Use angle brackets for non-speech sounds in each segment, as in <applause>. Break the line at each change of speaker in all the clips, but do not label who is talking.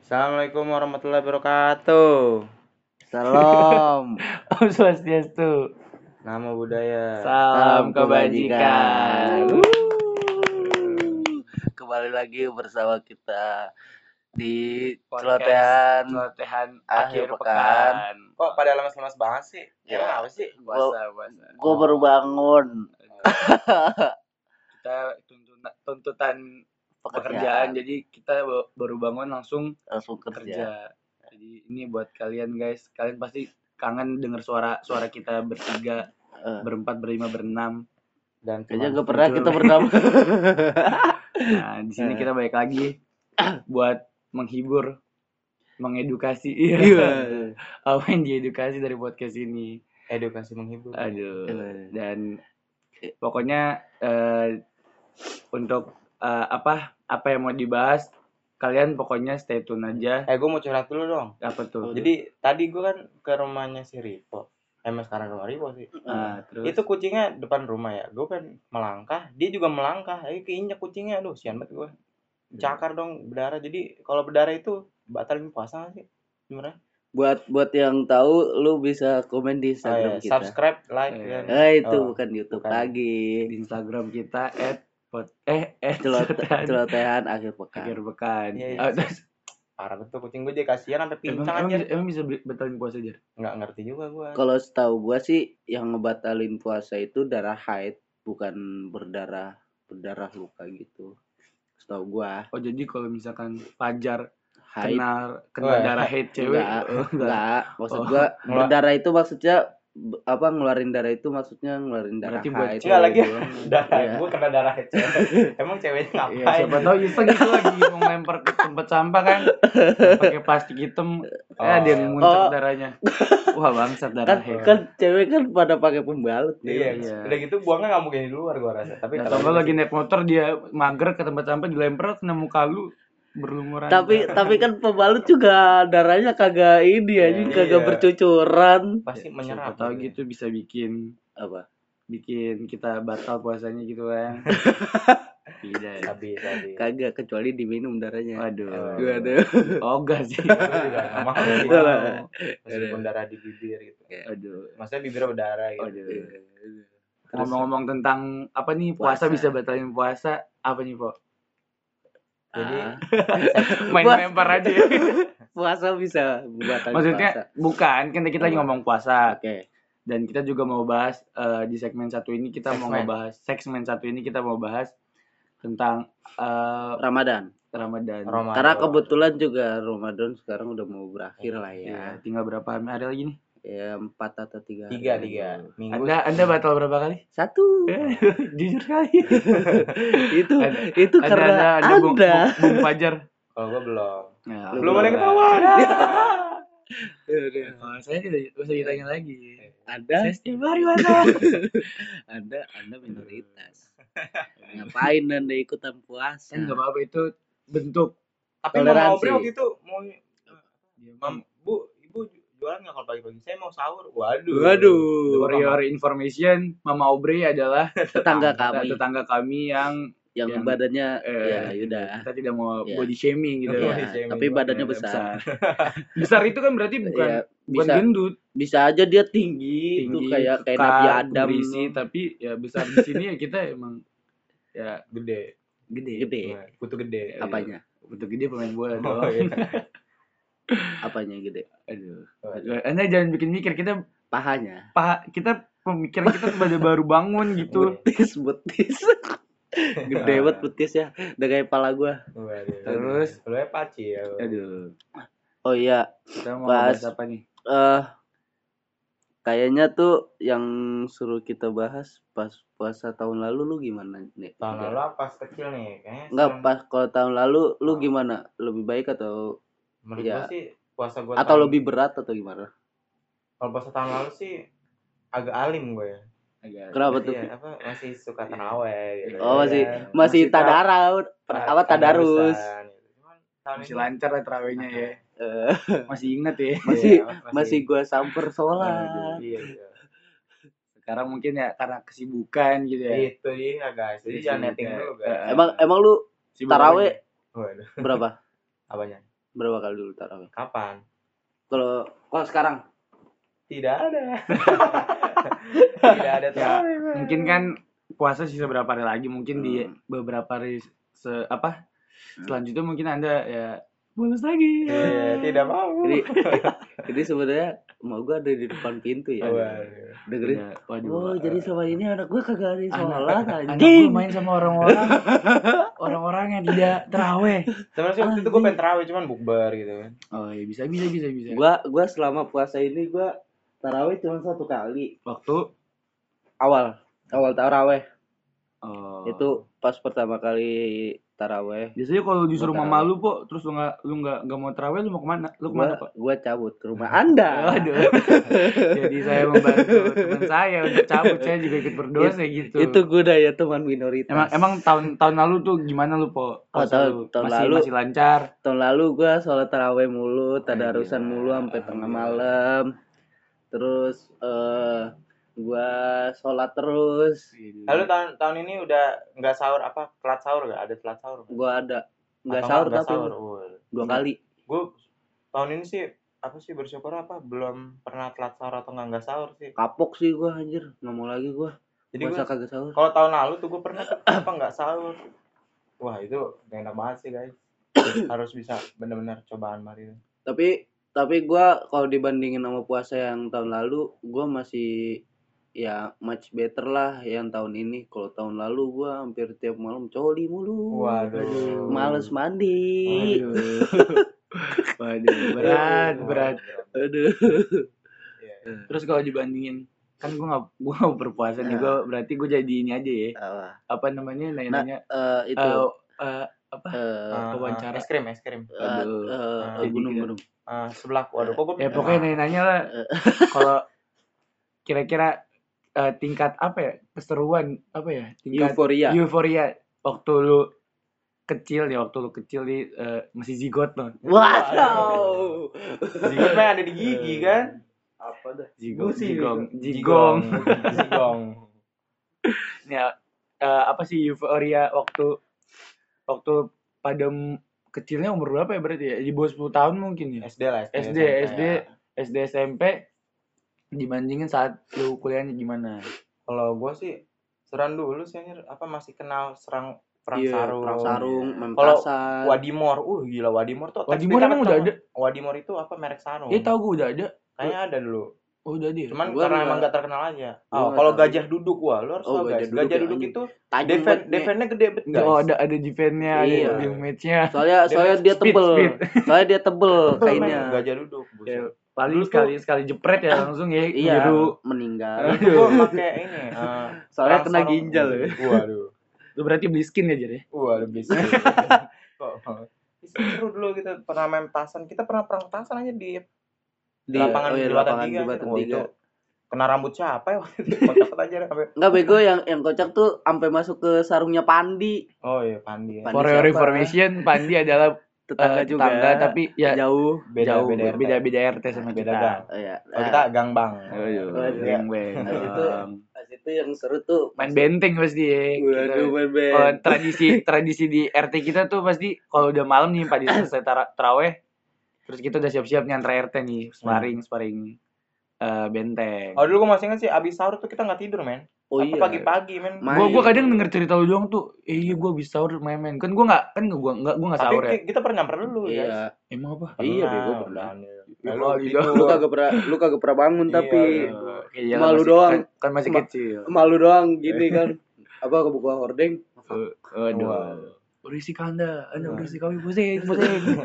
Assalamualaikum warahmatullahi wabarakatuh.
Salam.
Om Swastiastu.
Nama budaya.
Salam
Salam kebajikan.
kebajikan.
Kembali lagi bersama kita di
Podcast
celotehan
Celotehan
akhir
akhir
pekan.
pekan.
Kok pada lemas-lemas banget sih?
Ya.
Emang apa sih?
Puasa, puasa.
Gue baru bangun
Kita tuntutan, tuntutan pekerjaan.
pekerjaan
Jadi kita ba- baru bangun langsung
langsung kerja.
kerja. Jadi ini buat kalian guys. Kalian pasti kangen dengar suara suara kita bertiga,
Eh,
berempat, berlima, berenam.
Dan
Kayaknya
teman-
gak pernah
Betul.
kita bernama.
Nah, di
Eh.
sini kita balik lagi <clears throat> buat menghibur, mengedukasi.
<laughs> Iya.
<laughs> Apa yang diedukasi dari podcast ini?
edukasi menghibur.
Aduh.
Eh.
Dan pokoknya eh, untuk eh, apa apa yang mau dibahas kalian pokoknya stay tune aja
Eh, gue mau curhat dulu dong.
apa tuh?
Jadi tadi gue kan ke rumahnya si Ripo. Emang sekarang rumah Ripo sih.
Nah,
Ah, terus
Itu kucingnya depan rumah ya. Gue kan melangkah, dia juga melangkah. Eh, keinjak kucingnya. Aduh, sian banget gue. Cakar dong berdarah. Jadi kalau berdarah itu batalin puasa nggak sih? Sebenarnya.
buat buat yang tahu lu bisa komen di
Oh, iya.
Instagram kita.
Subscribe, like,
Eh,
dan
Eh itu
Oh,
bukan YouTube
bukan.
lagi.
di Instagram kita at pot eh at <laughs>
Celot-
celotehan
Celotehan akhir pekan.
akhir bekan.
Iya, iya.
Ah, terus,
parah betul kucing gue dia kasihan sampai
emang,
pincang
emang
aja.
bisa, emang bisa be- batalin puasa aja?
Nggak ngerti juga gue.
Kalau setahu gua sih yang ngebatalin puasa itu darah haid, bukan berdarah berdarah luka gitu. Setahu gua
Oh jadi kalau misalkan Fajar
haid
kena
Wah,
kena darah haid cewek
enggak,
oh, enggak.
enggak, maksud
Oh. <laughs>
gua
Ngelu-
berdarah itu maksudnya b- apa ngeluarin darah itu maksudnya ngeluarin darah
Berarti buat
haid.
Enggak lagi.
<laughs> doang.
darah
Iya.
gue kena darah cewek emang ceweknya ngapain
Iya, siapa tahu iseng itu lagi mau lempar ke tempat sampah kan pakai plastik hitam eh ada yang muncul
Oh.
darahnya wah bangsat
Kan,
darah haid
kan cewek kan pada pakai pembalut
<laughs>
ya.
iya,
nih.
Iya.
udah gitu buangnya nggak mungkin di luar gue rasa tapi
atau enggak lagi naik motor dia mager ke tempat sampah dilempar kena muka lu berlumuran
Tapi tapi kan pembalut juga darahnya kagak ini
Iya.
anjing kagak
Iya.
bercucuran.
pasti menyerap
Siapa tahu gitu
ya.
bisa bikin
Apa?
bikin kita batal puasanya gitu
<laughs>
kan tidak ya.
tapi tapi
Kagak kecuali diminum darahnya.
waduh
Gua
Gimana?
oh enggak sih
gue juga nggak mau sih.
Udah lah.
meskipun darah di bibir gitu
aduh
maksudnya bibirnya berdarah gitu
Oh,
Aduh.
Terus-
ngomong-ngomong tentang apa nih
Puasa.
puasa, bisa batalin puasa apa
<laughs>
nih po
jadi
Ah.
main
Puas-
lempar aja ya.
puasa bisa membatalkan
maksudnya
puasa.
bukan kan kita lagi
Apa?
ngomong
oke
puasa dan kita juga mau bahas eh, di segmen satu ini kita mau
Segmen.
ngebahas segmen satu ini kita mau bahas tentang eh,
Ramadan
Ramadan
Ramadan
karena kebetulan juga Ramadan sekarang udah mau berakhir lah ya
ya tinggal berapa hari lagi nih
ya empat atau tiga hari
tiga
lagi.
tiga minggu
anda anda batal berapa <laughs> kali
satu
jujur kali
itu
Ada-
itu
anda
karena
anda
anda, Ya,
anda bung, bung, bung Fajar
kalau gue belum
Nah,
belum
Lu belum
ada
lah.
ketahuan
Oh, saya tidak usah ditanya lagi
anda
saya setiap hari <laughs> batal
anda anda minoritas ngapain anda ikutan puasa
Kan nggak apa-apa itu bentuk
tapi mau
Toleransi.
ngobrol gitu mau Mam, bu ibu jualan nggak kalau pagi-pagi saya mau sahur waduh
waduh
For your information, Mama Aubrey adalah
tetangga kami
tetangga kami yang
yang,
yang-
badannya
eh,
ya udah
kita tidak mau
Iya.
body shaming gitu.
Iya,
Ya,
Jamie.
tapi badannya
Iya,
besar
<laughs> besar itu kan berarti bukan
ya,
bukan
bisa
gendut,
bisa aja dia tinggi, itu
tinggi,
kayak kayak
kekar,
Nabi Adam
berisi, tapi ya besar di sini ya kita emang ya
gede
gede.
gede
kutu gede
Iya.
apanya
Untuk gede pemain bola dong.
Oh, iya.
apanya gede
Aduh.
Waduh.
Anda jangan bikin mikir kita <laughs>
pahanya
paha kita pemikiran kita tuh pada baru bangun gitu.
betis
<laughs>
betis gede banget
Iya.
betis ya udah kayak pala gua
Waduh.
Terus?
lu ya paci ya. lu.
Aduh.
oh iya
Kita mau
Pas-
bahas apa nih?
eh kayaknya tuh yang suruh kita bahas pas puasa tahun lalu lu gimana nih
Tahun lalu apa kecil nih kayaknya.
Enggak
sebelum-
pas kalau tahun lalu
Oh.
lu gimana? Lebih baik atau
Menurut gua
iya.
sih puasa gua
atau
tahun-
lebih berat atau gimana?
kalau puasa tahun lalu sih agak alim gue ya.
Agak
Kenapa tuh?
Iya, apa masih suka taraweh gitu.
Oh, masih-
Iya.
Masih
Masih ta-
tadarus, apa tadarus?
tadarusan, gitu. Cuman tahun
masih
ini-
lancar lah terawihnya
<laughs>
ya.
Eh,
Masih inget ya.
masih-
Iya,
masih gua samper sholat
Iya, iya.
Sekarang mungkin ya karena kesibukan gitu
Iya.
ya.
Itu dia ya guys. Jadi
Iya,
jangan
iya.
netting dulu guys.
Eh,
emang emang lu
Sibuk <laughs>
taraweh
apa
Waduh,
berapa
apanya?
berapa kali dulu tarawih
Kapan?
kalau kalau sekarang
Tidak
<laughs>
ada. Tidak ada
Ya,
tarawih. Bang.
mungkin kan puasa sisa berapa hari lagi mungkin di
Hmm.
beberapa hari se apa selanjutnya mungkin anda ya bolos lagi
Iya, tidak mau.
jadi
<laughs>
jadi sebenarnya mau gue ada di depan pintu ya
Waduh.
dengerin
Ya, waduh
oh jadi selama ini anak gue kagak ada yang
Anak-
sholat
anak
anjing
gua main sama orang-orang orang-orang yang tidak teraweh
Sebenarnya sih waktu itu gue pengen terawih cuman bukber gitu kan.
oh iya bisa bisa bisa bisa
gue gue selama puasa ini gue taraweh cuma satu kali
waktu
awal awal taraweh
oh,
itu pas pertama kali taraweh
biasanya kalau disuruh
Gua
mama lu po terus lu nggak lu nggak nggak mau teraweh lu mau kemana lu
gue
kemana kok
gue cabut ke rumah
<laughs>
anda
Aduh, jadi saya membantu teman saya untuk cabut saya juga ikut berdosa gitu.
Iya, itu gunanya teman minoritas
Emang emang tahun tahun lalu tuh gimana lu
Oh,
po? Puasa
tahun-
lu?
tahun
masih,
lalu.
masih lancar.
tahun lalu gua sholat taraweh mulu tadarusan
Iya.
Alhamdulillah,
mulu sampai tengah
alhamdulillah.
malam terus eh gua sholat terus
Lalu tahun tahun ini udah nggak sahur apa? Telat sahur nggak? Ada telat sahur? nggak?
gua ada nggak
Atau
sahur
nggak
tapi
sahur? Waduh.
dua kali
gue tahun ini sih apa sih bersyukur apa belum pernah telat sahur atau nggak nggak sahur sih
kapok sih gua anjir nggak mau lagi gua
jadi
puasa
gua
kagak sahur
kalau tahun lalu tuh gue pernah tuh, apa nggak sahur wah itu gak enak banget sih
<coughs>
guys harus bisa benar-benar cobaan mari
tapi tapi gua kalau dibandingin sama puasa yang tahun lalu gua masih ya much better lah yang tahun ini kalau tahun lalu gua hampir tiap malam coli mulu
waduh
males mandi
Waduh.
<laughs>
Waduh, berat berat.
aduh
Iya.
Eh,
Terus kalau dibandingin kan gua nggak gua nggak berpuasa
Nah.
nih gua berarti gua jadi ini aja ya
Apa?
apa namanya nanya-nanya
Eh, itu
eh, eh, apa
eh,
Ah, ah,
wawancara.
es krim es krim
eh,
aduh.
eh,
Ah,
eh,
jadi
gunung
kita-
gunung
Ah, sebelah waduh kok gua-
Eh,
ya
<laughs>
pokoknya
Ah.
nanya-nanya
<laughs>
lah kalau kira-kira eh, tingkat apa ya keseruan apa ya tingkat
euforia
euforia waktu lu kecil ya waktu lu kecil di eh, masih zigot loh
wow
zigot mah yang ada di
Eh.
gigi kan
apa dah
zigong
Gusi.
zigong zigong
Jigong.
ya eh, apa sih euforia waktu waktu pada m- kecilnya umur berapa ya berarti ya di bawah 10 tahun mungkin ya
SD lah
SD
sampai
SD
ya.
SD SMP dibandingin saat lu kuliahnya gimana
Kalau gue sih seran dulu sih anjir. apa masih kenal serang perang
Iya,
sarung.
perang sarung
Iya.
main
Kalau
petasan.
Wadimor, uh gila Wadimor tuh. tekstil
Wadimor
banget
emang
tau
udah
nggak? Wadimor itu apa merek sarung?
eh tau gue udah ada
Kayaknya ada dulu.
oh udah ada ya?
Cuman
Iya, Gua
karena
nggak-
emang gak terkenal aja.
gua
Oh,
nggak
kalau
tahu.
gajah duduk wah lu harus
Oh,
tau
gajah
guys.
duduk
Gajah
ya,
duduk
anjing.
itu
Tajam
defend
banget, ya. Nek.
defendnya gede bet guys.
Oh ada ada defense-nya, ada
Iya.
building match-nya.
soalnya
Dia
soalnya
main
dia
speed,
tebel
speed.
soalnya dia tebel
Tebel, men.
kainnya
Gajah duduk. buset.
Ya, paling
Dulu tuh-
sekali sekali jepret ya langsung ya
iya
biru.
<laughs>
meninggal
Eh.
Itu gue pakai ini. eh,
soalnya
perang
kena
sarung.
ginjal ya.
Waduh.
Itu berarti beli skin ya jadi.
Wah, lebih <laughs> seru. Kok seru dulu kita pernah main petasan. Kita pernah perang petasan aja di, di lapangan
oh
di Oh,
iya,
iya.
lapangan
lapangan tiga.
di Batan
Wah,
Tiga.
itu kena rambut siapa ya <laughs> waktu itu? Kotak aja sampai.
Enggak bego yang yang kocak tuh sampai masuk ke sarungnya Pandi
Oh iya, Pandi. Ya.
Pandi
For your
siapa?
information, Pandi adalah
tetangga
eh,
juga
tetangga, tapi ya
jauh
Beda,
jauh
beda, Ah. RT.
beda beda RT sama
Beda
kita.
gang.
oh, iya.
Kalau kita gang bang.
Aduh,
Waduh.
geng beng.
Habis Nah, itu, pas itu yang seru tuh
Main benteng pasti ya. Kita-
Waduh, main band.
Kalau tradisi tradisi di RT kita tuh pasti kalau udah malam nih Pak di selesai tara- taraweh terus kita udah siap-siap nyantre RT nih, sparring
Hmm.
sparring eh, benteng.
Oh dulu gue masih ingat sih abis sahur tuh kita nggak tidur men.
oh
Apa
iya.
Pagi-pagi men.
Ma-
Gue
Main.
gua kadang denger cerita lu doang tuh, eh iya gue bisa sahur main-main. Kan gue nggak kan gue nggak gue nggak
Tapi
sahur ya.
ki- kita pernah nyamper dulu
Iya.
guys.
Emang apa?
Iya,
Pernah,
Bego, pernah.
Nah,
Wah,
lu
iya.
tidur.
Lu kagak pernah lu kagak pernah bangun
Iya,
tapi
iya.
Iya,
Ehm, Malu
masih-
doang.
Kan, kan masih
Ma-
kecil.
malu doang gini kan. Apa kebuka hordeng?
Aduh.
Waduh.
Berisik anda, anda
Wah.
berisik kami pusing, pusing.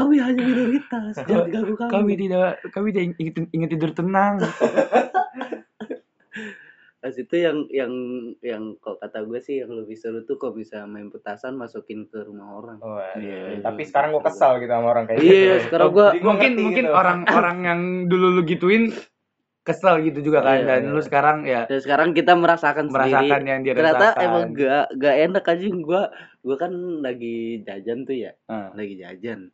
Kami hanya minoritas, jangan ganggu kami.
kami tidak, kami tidak ingin, ingin tidur tenang.
Pas itu yang yang yang kalau kata gue sih yang lebih seru tuh kalau bisa main petasan masukin ke rumah orang.
Wah,
Iya,
Tapi
iya.
sekarang gue kesal gitu sama orang kayak
Iya,
gitu.
sekarang gua-
Jadi gua
mungkin
ngerti
mungkin
gitu.
orang-orang yang dulu lu gituin kesel gitu juga kan
Iya,
dan
iya.
lu sekarang ya
Dan sekarang kita merasakan, sendiri.
merasakan yang Iya, dirasakan.
Ternyata emang gitu. gak gak enak aja gua gua kan lagi jajan tuh ya,
Ah.
lagi jajan.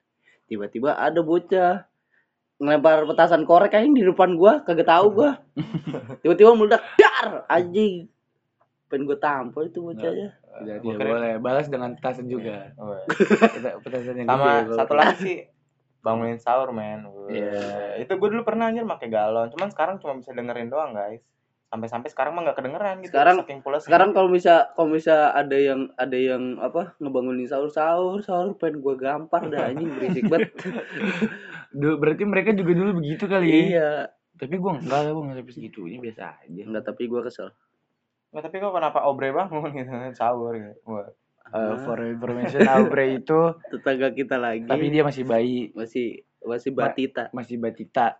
Tiba-tiba ada bocah ngelempar petasan korek aja di depan gua, kagak tahu
<laughs>
gua. Tiba-tiba meledak dar anjing. Pengen gua tampol itu
Nah.
ya. bocahnya.
tidak,
Gua
tidak
kira-
boleh balas dengan petasan juga. <laughs>
Wah.
Peta- ya, petasan yang
Iya. Oh, Sama
gede,
satu
Iya, kalau- gitu.
lagi sih bangunin sahur men
Iya.
itu gue dulu pernah anjir pakai galon cuman sekarang cuma bisa dengerin doang guys sampai-sampai sekarang mah nggak kedengeran gitu
Sekarang-
saking pulesnya.
sekarang kalau bisa kalau bisa ada yang ada yang apa ngebangunin sahur sahur sahur pengen gua gampar dah anjing berisik
<laughs>
banget
Du- berarti mereka juga dulu begitu kali ya
iya Nah.
tapi gua enggak lah gua enggak sampai segitunya biasa aja
enggak Iya. tapi gua kesel
Nggak, Ya, tapi kok kenapa obre bangun gitu <laughs> sahur gitu Wah.
Eh,
Ah.
for information Aubrey itu
tetangga kita lagi
tapi dia masih bayi
masih masih
Ma-
batita
masih batita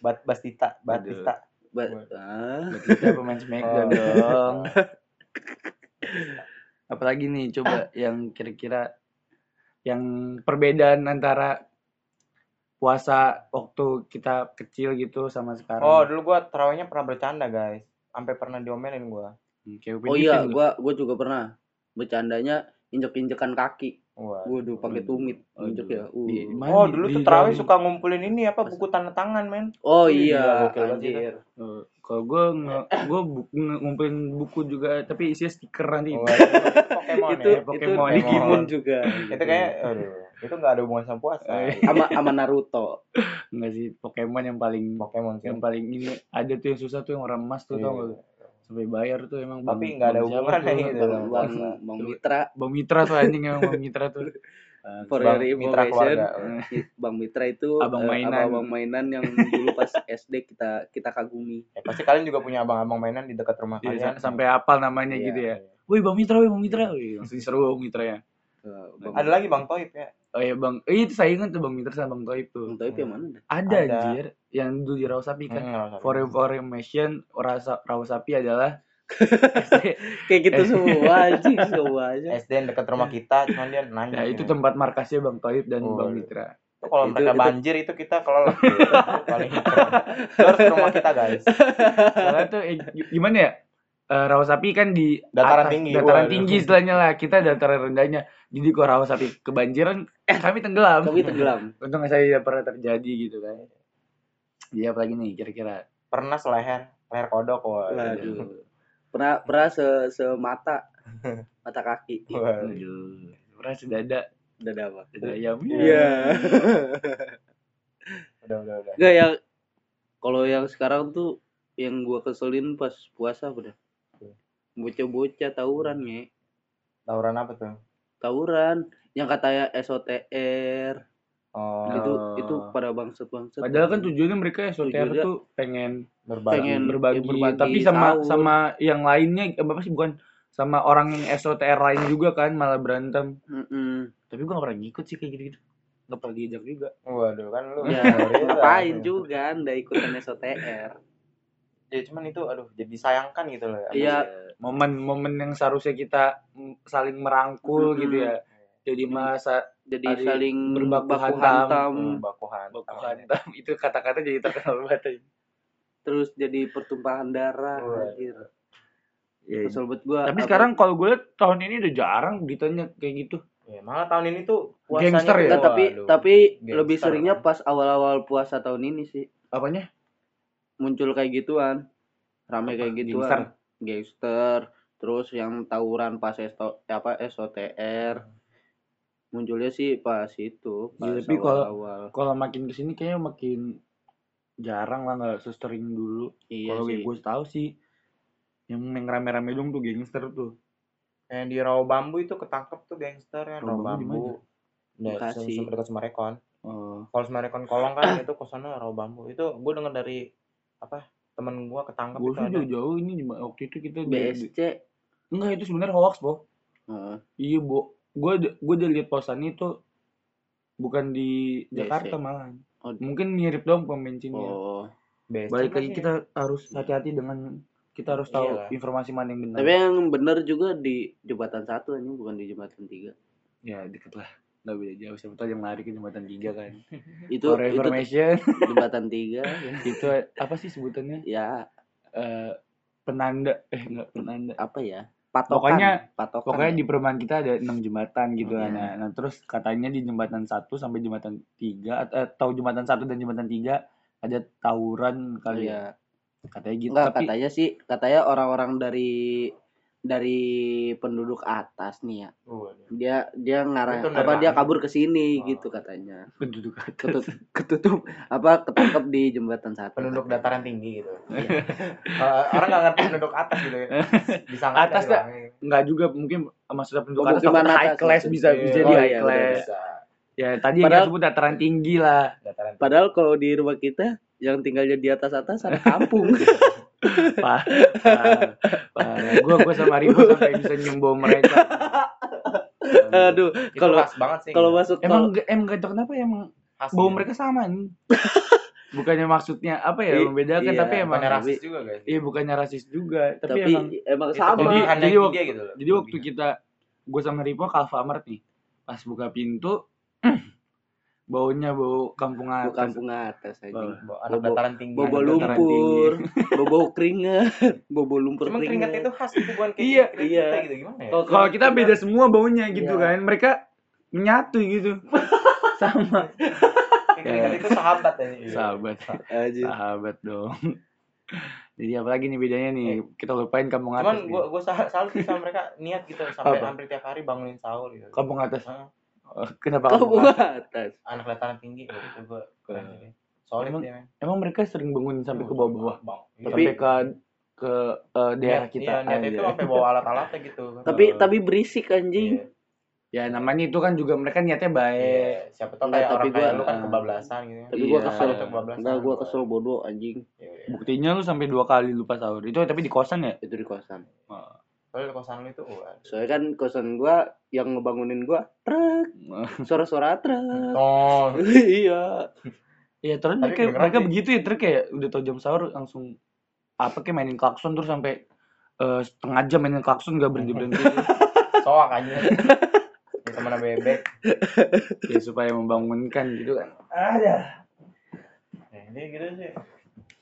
bat bastita batista
Ba-
Buat-
ah.
batita pemain smackdown
Oh.
dong apalagi nih coba yang kira-kira yang perbedaan antara puasa waktu kita kecil gitu sama sekarang
<laughs> oh dulu gua terawihnya pernah bercanda guys sampai pernah diomelin gua
Hmm, kayak
oh
pendidikan
iya
gitu.
lu.
gua gua juga pernah bercandanya injek injekan kaki
Wah.
waduh pakai
Waduh.
tumit injek ya
Waduh. Iya, Di-
uh.
mana
Oh
di-
dulu
di
tuh terawih
dalam-
suka ngumpulin ini apa buku tanda tangan men
oh
Wih, gila,
iya
gokil banget itu.
anjir
Eh, kalau gue gue ngumpulin buku juga tapi isinya stiker nanti <laughs>
Wah, itu Pokemon
itu
ya
itu
Pokemon.
Digimon juga
Gitu.
itu kayak aduh itu nggak ada hubungan sama puasa
Eh.
sama sama Naruto
enggak sih Pokemon yang paling
Pokemon sih
yang paling ini ada tuh yang susah tuh yang orang emas tuh
Iya.
tau gak lu? sampai bayar tuh emang
tapi
Bang-
nggak ada
Bang siapa
hubungannya
tuh?
gitu
bang
Bang-
bang bang Mitra
Bang Mitra tuh anjing emang Bang Mitra tuh Eh,
for
Bang
your
Mitra
information <laughs>
keluarga
Bang Mitra itu
Abang
eh,
mainan.
abang-abang mainan yang dulu
<laughs>
pas SD kita kita kagumi.
Ya, pasti kalian juga punya abang-abang mainan di dekat rumah
iya,
kalian
sa- sampai apal namanya
Iya.
gitu ya woi Bang Mitra woi Bang Mitra woi langsung seru Bang Mitra ya
Eh,
ada lagi Bang Toib ya
oh iya Bang eh, itu saya ingat tuh Bang Mitra sama Bang Toib tuh
Bang Toib yang mana dah?
ada,
Hmm, Ada.
anjir yang dulu di
Iya.
Rawasapi kan
Hmm, nggak usah.
for information rasa Rawasapi adalah SD.
Kayak gitu
Eh.
semua anjing semua
<laughs>
aja.
SD yang dekat rumah
Ya.
kita cuman
<laughs>
dia nanya
Nah, itu
gitu.
tempat markasnya Bang Toib dan
Oh,
Bang
iya.
Mitra.
Itu kalau
itu-
mereka
itu-
banjir itu kita
<laughs>
kalau paling keren. Lu harus ke rumah kita guys
Soalnya tuh eh, gi- gimana ya? Eh, Rawasapi kan di
Dataran tinggi.
dataran
Waduh.
tinggi istilahnya lah. Kita dataran rendahnya. Jadi kalau Rawasapi kebanjiran, kami tenggelam.
Kami tenggelam.
Untung saya tidak pernah terjadi gitu kan. Iya apalagi nih kira-kira.
pernah seleher leher kodok wah.
Waduh. Pernah pernah se
<laughs>
semata mata kaki. Ih,
Wah.
Aduh, pernah sudah ada
Udah ada apa?
ada ayam.
Iya.
udah udah udah
Enggak yang kalau yang sekarang tuh yang gua keselin pas puasa udah.
Iya.
Bocah-bocah tawuran nge.
tawuran apa tuh
Tawuran yang katanya SOTR
oh
itu
Oh.
itu pada bangsat bangsat
Padahal kan tujuannya mereka SOTR
Tujuannya-
tuh pengen
berbagi
pengen
berbagi,
ya, berbagi
tapi sama
sahur.
sama yang lainnya eh, apa sih bukan sama orang yang SOTR lain juga kan malah berantem.
Mm-mm.
Tapi gua gak pernah ngikut sih kayak gitu-gitu. Gak pernah diajak juga.
waduh kan lu
ya
minoritas.
Iya,
ngapain juga anda ikutan SOTR
ya cuman itu aduh jadi disayangkan gitu loh
Iya.
Momen-momen yang seharusnya kita mm, saling merangkul
Mm-mm.
gitu ya. Jadi malah sa-
jadi
Tadi
saling
berbaku
baku
hantam. Iya.
hantam
Hmm, baku hantam.
baku hantam <laughs> itu kata-kata jadi terkenal banget.
terus jadi pertumpahan darah
Wah.
anjir
Ya,
kesel banget gua
Iya. Tapi
apa-
sekarang kalau gue lihat tahun ini udah jarang ditanya kayak gitu.
Ya, malah tahun ini tuh puasanya
Gangster ya?
Enggak, tapi
Waduh.
tapi
gangster
lebih seringnya
kan.
pas awal-awal puasa tahun ini sih
Apanya?
muncul kayak gituan rame kayak
Gangster?
gituan gangster terus yang tawuran pas esto, apa SOTR munculnya sih pas itu pas
Iya, tapi kalau-
awal-awal
Kalau makin kesini kayaknya makin jarang lah nggak sesering dulu.
iya
kalau
sih
gue tahu sih yang yang rame-rame dong tuh gangster tuh.
Yang di rawa bambu itu ketangkep tuh gangster kan rawa
Rawa Bambu di
bambu. Nah,
Bekasi.
Bekasi. dekat Semarekon.
Oh,
Kalau Semarekon Kolong kan itu kosannya rawa bambu. Itu gue denger dari apa temen gue ketangkep
gue
itu
sih
ada.
jauh-jauh ini di- waktu itu kita di- di-
BSC
enggak itu sebenarnya hoax po.
Heeh.
Iya bu, gue gue udah lihat posan itu bukan di
Iya,
Jakarta
sih.
malah.
Oh.
Mungkin mirip dong pom bensinnya.
oh
BSC
Balik lagi
masih-
kita harus hati-hati dengan kita harus tahu
Iyalah.
informasi mana yang benar.
tapi yang bener juga di jembatan satu anjing bukan di jembatan tiga
ya deket lah, nggak beda jauh. Siapa tahu yang lari ke jembatan tiga kan.
itu
For
itu
information
jembatan tiga ya.
itu apa sih sebutannya?
ya
Eh, penanda eh enggak penanda
apa ya patokan
Pokoknya-
patokan
Pokoknya
ya.
di perumahan kita ada enam jembatan gitu
Iya.
kan. Nah, nah, terus katanya di jembatan satu sampai jembatan tiga at- atau jembatan satu dan jembatan tiga ada tawuran kali
Iya.
ya. Katanya gitu.
Enggak,
tapi
katanya sih katanya orang-orang dari dari penduduk atas nih ya
Waduh.
dia dia ngarah
Itu dari
apa dia
langit.
kabur ke sini
Oh.
gitu katanya
penduduk atas
ketutup, ketutup apa ketangkep di jembatan satu
penduduk
katanya.
dataran tinggi
<laughs>
gitu. Eh, orang nggak ngerti penduduk atas gitu ya. Bisa nggak
Atas
kita
dah.
bilangin?
nggak juga mungkin maksudnya penduduk atas
Pemukiman
takut
atas
high class
gitu.
bisa
Iya.
bisa
Oh,
iya,
di high
bener,
class
Bisa.
ya tadi yang
Padahal-
disebut dataran tinggi lah
Dataran tinggi.
padahal kalau di rumah kita yang tinggalnya di atas atas ada
<laughs>
kampung
Pak, gue gue sama Rivo sampai bisa nyembong mereka.
aduh
Itu
kalau
khas banget sih.
kalau
gitu.
masuk tol
Emang nggak- emang gak tau kenapa emang
Khas
bau
gitu.
mereka sama nih. Bukannya maksudnya apa ya
I-
membedakan
iya,
tapi emang
bukannya rasis
tapi-
juga guys.
iya bukannya rasis juga tapi,
tapi
emang
emang
Itu
sama
Jadi-
kelebihan
jadi
dari
waktu-
dia gitu loh.
jadi waktu kita gue sama Rivo ke Alfamart nih pas buka pintu <clears throat> baunya bau kampung
Gua
atas
kampung atas aja
Bawah.
Bawa anak
Bobo-
dataran tinggi.
bobo
Ada dataran
lumpur <laughs> bobo keringet bobo lumpur
Cuman keringat itu khas itu bukan kayak
Iya,
keringat
iya.
kita gitu gimana ya?
Kalau-
kalau kita beda semua baunya gitu
Iya.
kan mereka menyatu gitu sama
Kayak keringat itu <laughs> sahabat ya. iya.
sahabat
aja
sahabat dong <laughs> jadi apalagi nih bedanya nih
Eh.
kita lupain kampung atas
Cuman
nih.
gua gua sal- salut sih sama mereka niat gitu sampai
Apa?
hampir tiap hari bangunin sahur gitu.
kampung atas
Heeh.
Oh, kenapa kampung
kampung
atas?
atas
Anak dataran tinggi gitu gua. keren sih dia. Solid
Emang-
dia. men.
emang mereka sering bangun sampai ke bawah-bawah
Bang. Iya.
sampai ke ke eh, daerah
Niat-
kita
Iya, niatnya itu
aja.
sampai bawa alat-alatnya gitu.
tapi
Oh.
tapi berisik anjing
Iya.
ya namanya itu kan juga mereka niatnya
Iya,
baik
siapa tau
Enggak,
kayak
tapi
orang kayak
gua-
lu kan
ah.
kebablasan gitu.
tapi gua
Iya.
kesel
Itu kebablasan.
enggak gua kesel bodoh anjing
Iya, iya.
buktinya lu sampai dua kali lupa sahur itu tapi di kosan ya
itu di kosan
Soalnya kosan lu itu waduh.
soalnya kan kosan gua yang ngebangunin gua truk suara-suara truk
Tong.
<laughs> iya
ya terus mereka
beneran
mereka
sih.
begitu ya terus kayak udah tau jam sahur langsung apa kayak mainin klakson terus sampai eh, setengah jam mainin klakson gak berhenti berhenti <laughs>
Soak aja. Ini temennya bebek.
ya supaya membangunkan gitu kan
Ya, ini gitu sih.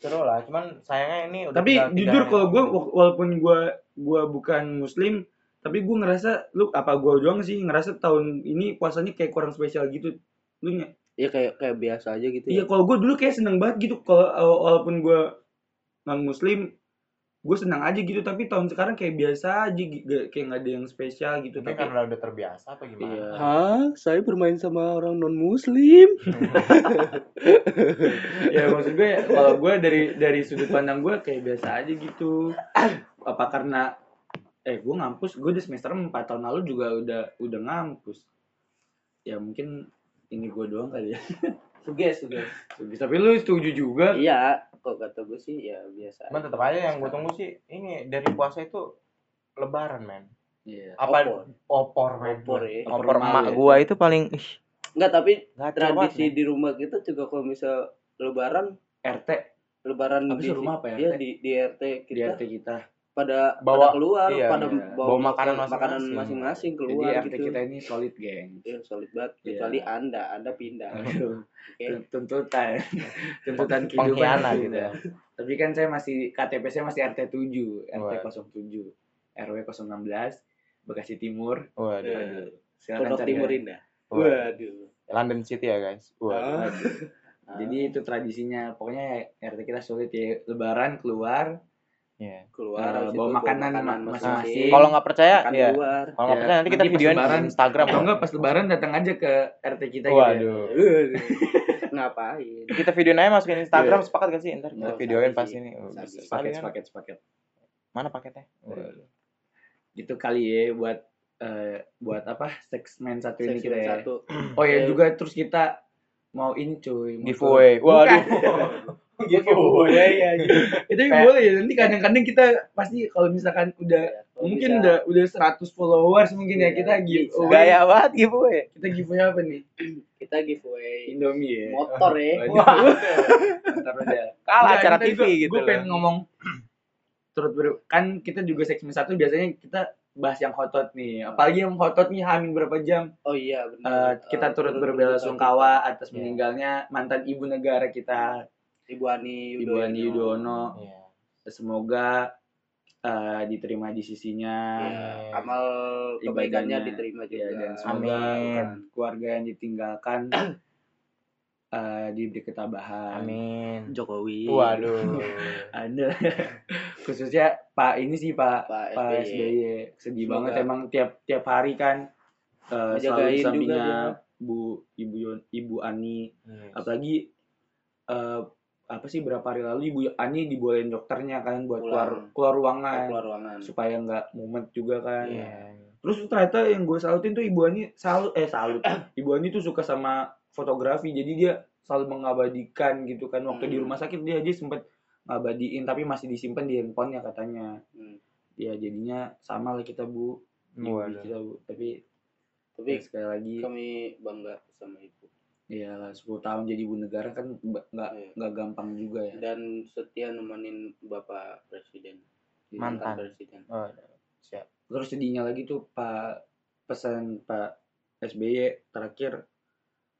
Seru lah, cuman sayangnya ini udah
tapi
tinggal-
jujur
tinggal-
kalau gue walaupun gue gua bukan muslim tapi gue ngerasa lu apa gue doang sih ngerasa tahun ini puasanya kayak kurang spesial gitu lu ny-
ya kayak kayak biasa aja gitu ya
Iya, kalau gue dulu kayak seneng banget gitu. Kalau uh, walaupun gue non Muslim, gue senang aja gitu. Tapi tahun sekarang kayak biasa aja, gi- ga- kayak nggak ada yang spesial gitu.
Mungkin
Tapi
karena udah terbiasa apa gimana?
Iya.
Hah, saya bermain sama orang non muslim.
ya maksud gue, kalau gue dari dari sudut pandang gue kayak biasa aja gitu. Apa karena eh gue ngampus, gue di semester 4 tahun lalu juga udah udah ngampus. Ya mungkin ini gue doang kali ya.
Suges, suges.
Tapi lu setuju juga?
Iya, kok kata gue sih ya biasa.
Cuman tetap aja yang gue tunggu sih ini dari puasa itu lebaran, men.
Iya.
Apa
Opor.
opor, men.
Opor, ya.
Opor
Opor
emak
malu, ya.
gua itu paling ih,
Enggak, tapi
gacor
tradisi
banget,
di rumah kita juga kalau misal lebaran,
RT
lebaran
Apa
di
sih rumah apa ya,
Iya,
RT?
di di RT
di
kita
RT kita.
pada
Bawa-
pada keluar,
iya,
pada
iya.
bawa,
Bawa makanan
makanan
masing-masing.
masing-masing
Jadi
keluar
RT
gitu.
kita ini solid geng.
Iya, solid banget.
Iya.
Kecuali Anda, Anda pindah. Oke.
Tun- tuntutan tuntutan
Peng-
kehidupan
pengkhianat
kita.
gitu ya.
tapi kan saya masih KTP saya masih RT 7 RT
Wah.
07 RW 016 Bekasi Timur
men. <laughs> Waduh.
Iya.
silakan
Pondok
cari
Timur
ya.
Indah.
Waduh.
Waduh.
London City ya, guys. Waduh.
Ah.
jadi itu tradisinya pokoknya RT kita sulit ya lebaran keluar
Iya.
keluar
Eh,
habis
bawa
itu
makanan ma-
Nah,
masing-masing.
kalau nggak percaya,
makan
ya.
di
<laughs>
luar.
Kalau nggak
Ya,
percaya nanti kita
nanti pas
videoin
lebaran,
di Instagram.
atau enggak pas lebaran datang aja ke RT kita gitu ya.
Waduh.
Ngapain?
Kita videoin aja masukin Instagram
Iya.
sepakat gak sih? Ntar kita
Nggak,
videoin
sabi
pas
sih.
ini. Oh,
Sabi.
bisa sekali
paket
kan?
paket paket
Mana
Iya.
paketnya?
Waduh. gitu kali ya buat eh, buat apa seksmen satu ini kita
Seksi
ya
satu.
Oh
Eh.
ya juga terus kita mau ini cuy. mau
Giveaway.
turun.
Waduh. Iya,
Bukan. <laughs> Giveaway ya. Itu yang
Kayak-
boleh ya. Nanti kadang-kadang kita pasti kalau misalkan udah
Ya, kalau
mungkin
bisa
udah udah 100 followers mungkin ya
Iya,
kita
bisa.
giveaway.
Gaya banget giveaway.
Kita giveaway apa nih?
kita giveaway
Indomie ya.
motor ya.
Waduh. <laughs> Ntar aja.
Kalah
Nggak,
acara
tadi
TV
gua-
gitu.
Gua
loh.
pengen ngomong <clears throat> turut ber kan kita juga segmen satu biasanya kita bahas yang hotot nih. Apalagi yang hotot nih hamin berapa jam.
Oh iya
Eh,
benar. Eh,
kita turut
berduka
berbelasungkawa atas
Iya.
meninggalnya mantan ibu negara kita
cita. Ibu Ani
Ibu Ani Yudhoyono.
Iya.
Semoga eh, diterima di sisinya
Ya, amal
Iya. Ibadahnya.
kebaikannya diterima
ya,
juga.
dan
Iya. Amin.
semoga keluarga yang ditinggalkan <clears throat> eh, diberi ketabahan.
Amin.
Iya. <laughs>
Jokowi.
Waduh.
Ada <laughs> khususnya Pak ini sih Pak
Pak SBY.
Pak SBY sedih
Semoga-
banget emang tiap tiap hari kan eh selalu
Dijagain
di
juga
sampingnya
dia.
Bu Ibu Yon- Ibu Ani apalagi eh apa sih berapa hari lalu Ibu Ani dibolehin dokternya kan buat keluar
Pulang.
keluar ruangan
keluar ruangan
supaya nggak mumet juga kan
Iya.
terus ternyata yang gue salutin tuh Ibu Ani salut eh
<coughs>
salut Ibu Ani tuh suka sama fotografi jadi dia selalu mengabadikan gitu kan waktu di
Hmm.
rumah sakit dia aja sempet ngabadiin tapi masih disimpan di handphonenya katanya
Hmm.
ya jadinya sama lah kita bu Ibu
Waduh.
kita bu tapi
tapi
ya, sekali lagi
kami bangga sama ibu
ya 10 tahun jadi ibu negara kan ba- nggak
Iya.
nggak gampang juga ya
dan setia nemenin bapak presiden Iya,
Mantan.
presiden
Oh, siap.
terus sedihnya lagi tuh pak pesan pak SBY terakhir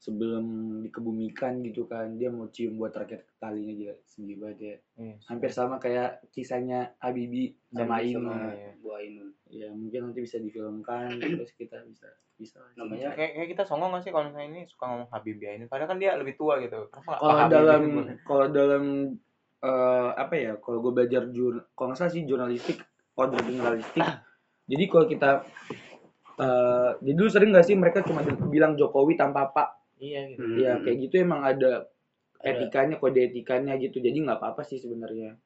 sebelum dikebumikan gitu kan dia mau cium buat terakhir kalinya dia sedih banget ya
Iya,
hampir sama kayak kisahnya Habibi sama
Habibi
Ainu
sama- iya.
Bu Ainun
ya mungkin nanti bisa difilmkan terus kita bisa bisa
Ya,
namanya
kayak, kayak kita songong gak sih kalau misalnya ini suka ngomong Habibie ini padahal kan dia lebih tua gitu Kenapa nggak
kalau
Pak
ya,
Habibie?
Oh,
gitu?
dalam kalau dalam eh, apa ya kalau gue belajar jur kalau nggak salah sih jurnalistik kode
<clears throat>
jurnalistik jadi kalau kita eh, jadi dulu sering nggak sih mereka cuma bilang Jokowi tanpa pak
iya gitu
Hmm.
ya kayak gitu emang ada
Ada.
etikanya kode etikanya gitu jadi nggak apa-apa sih sebenarnya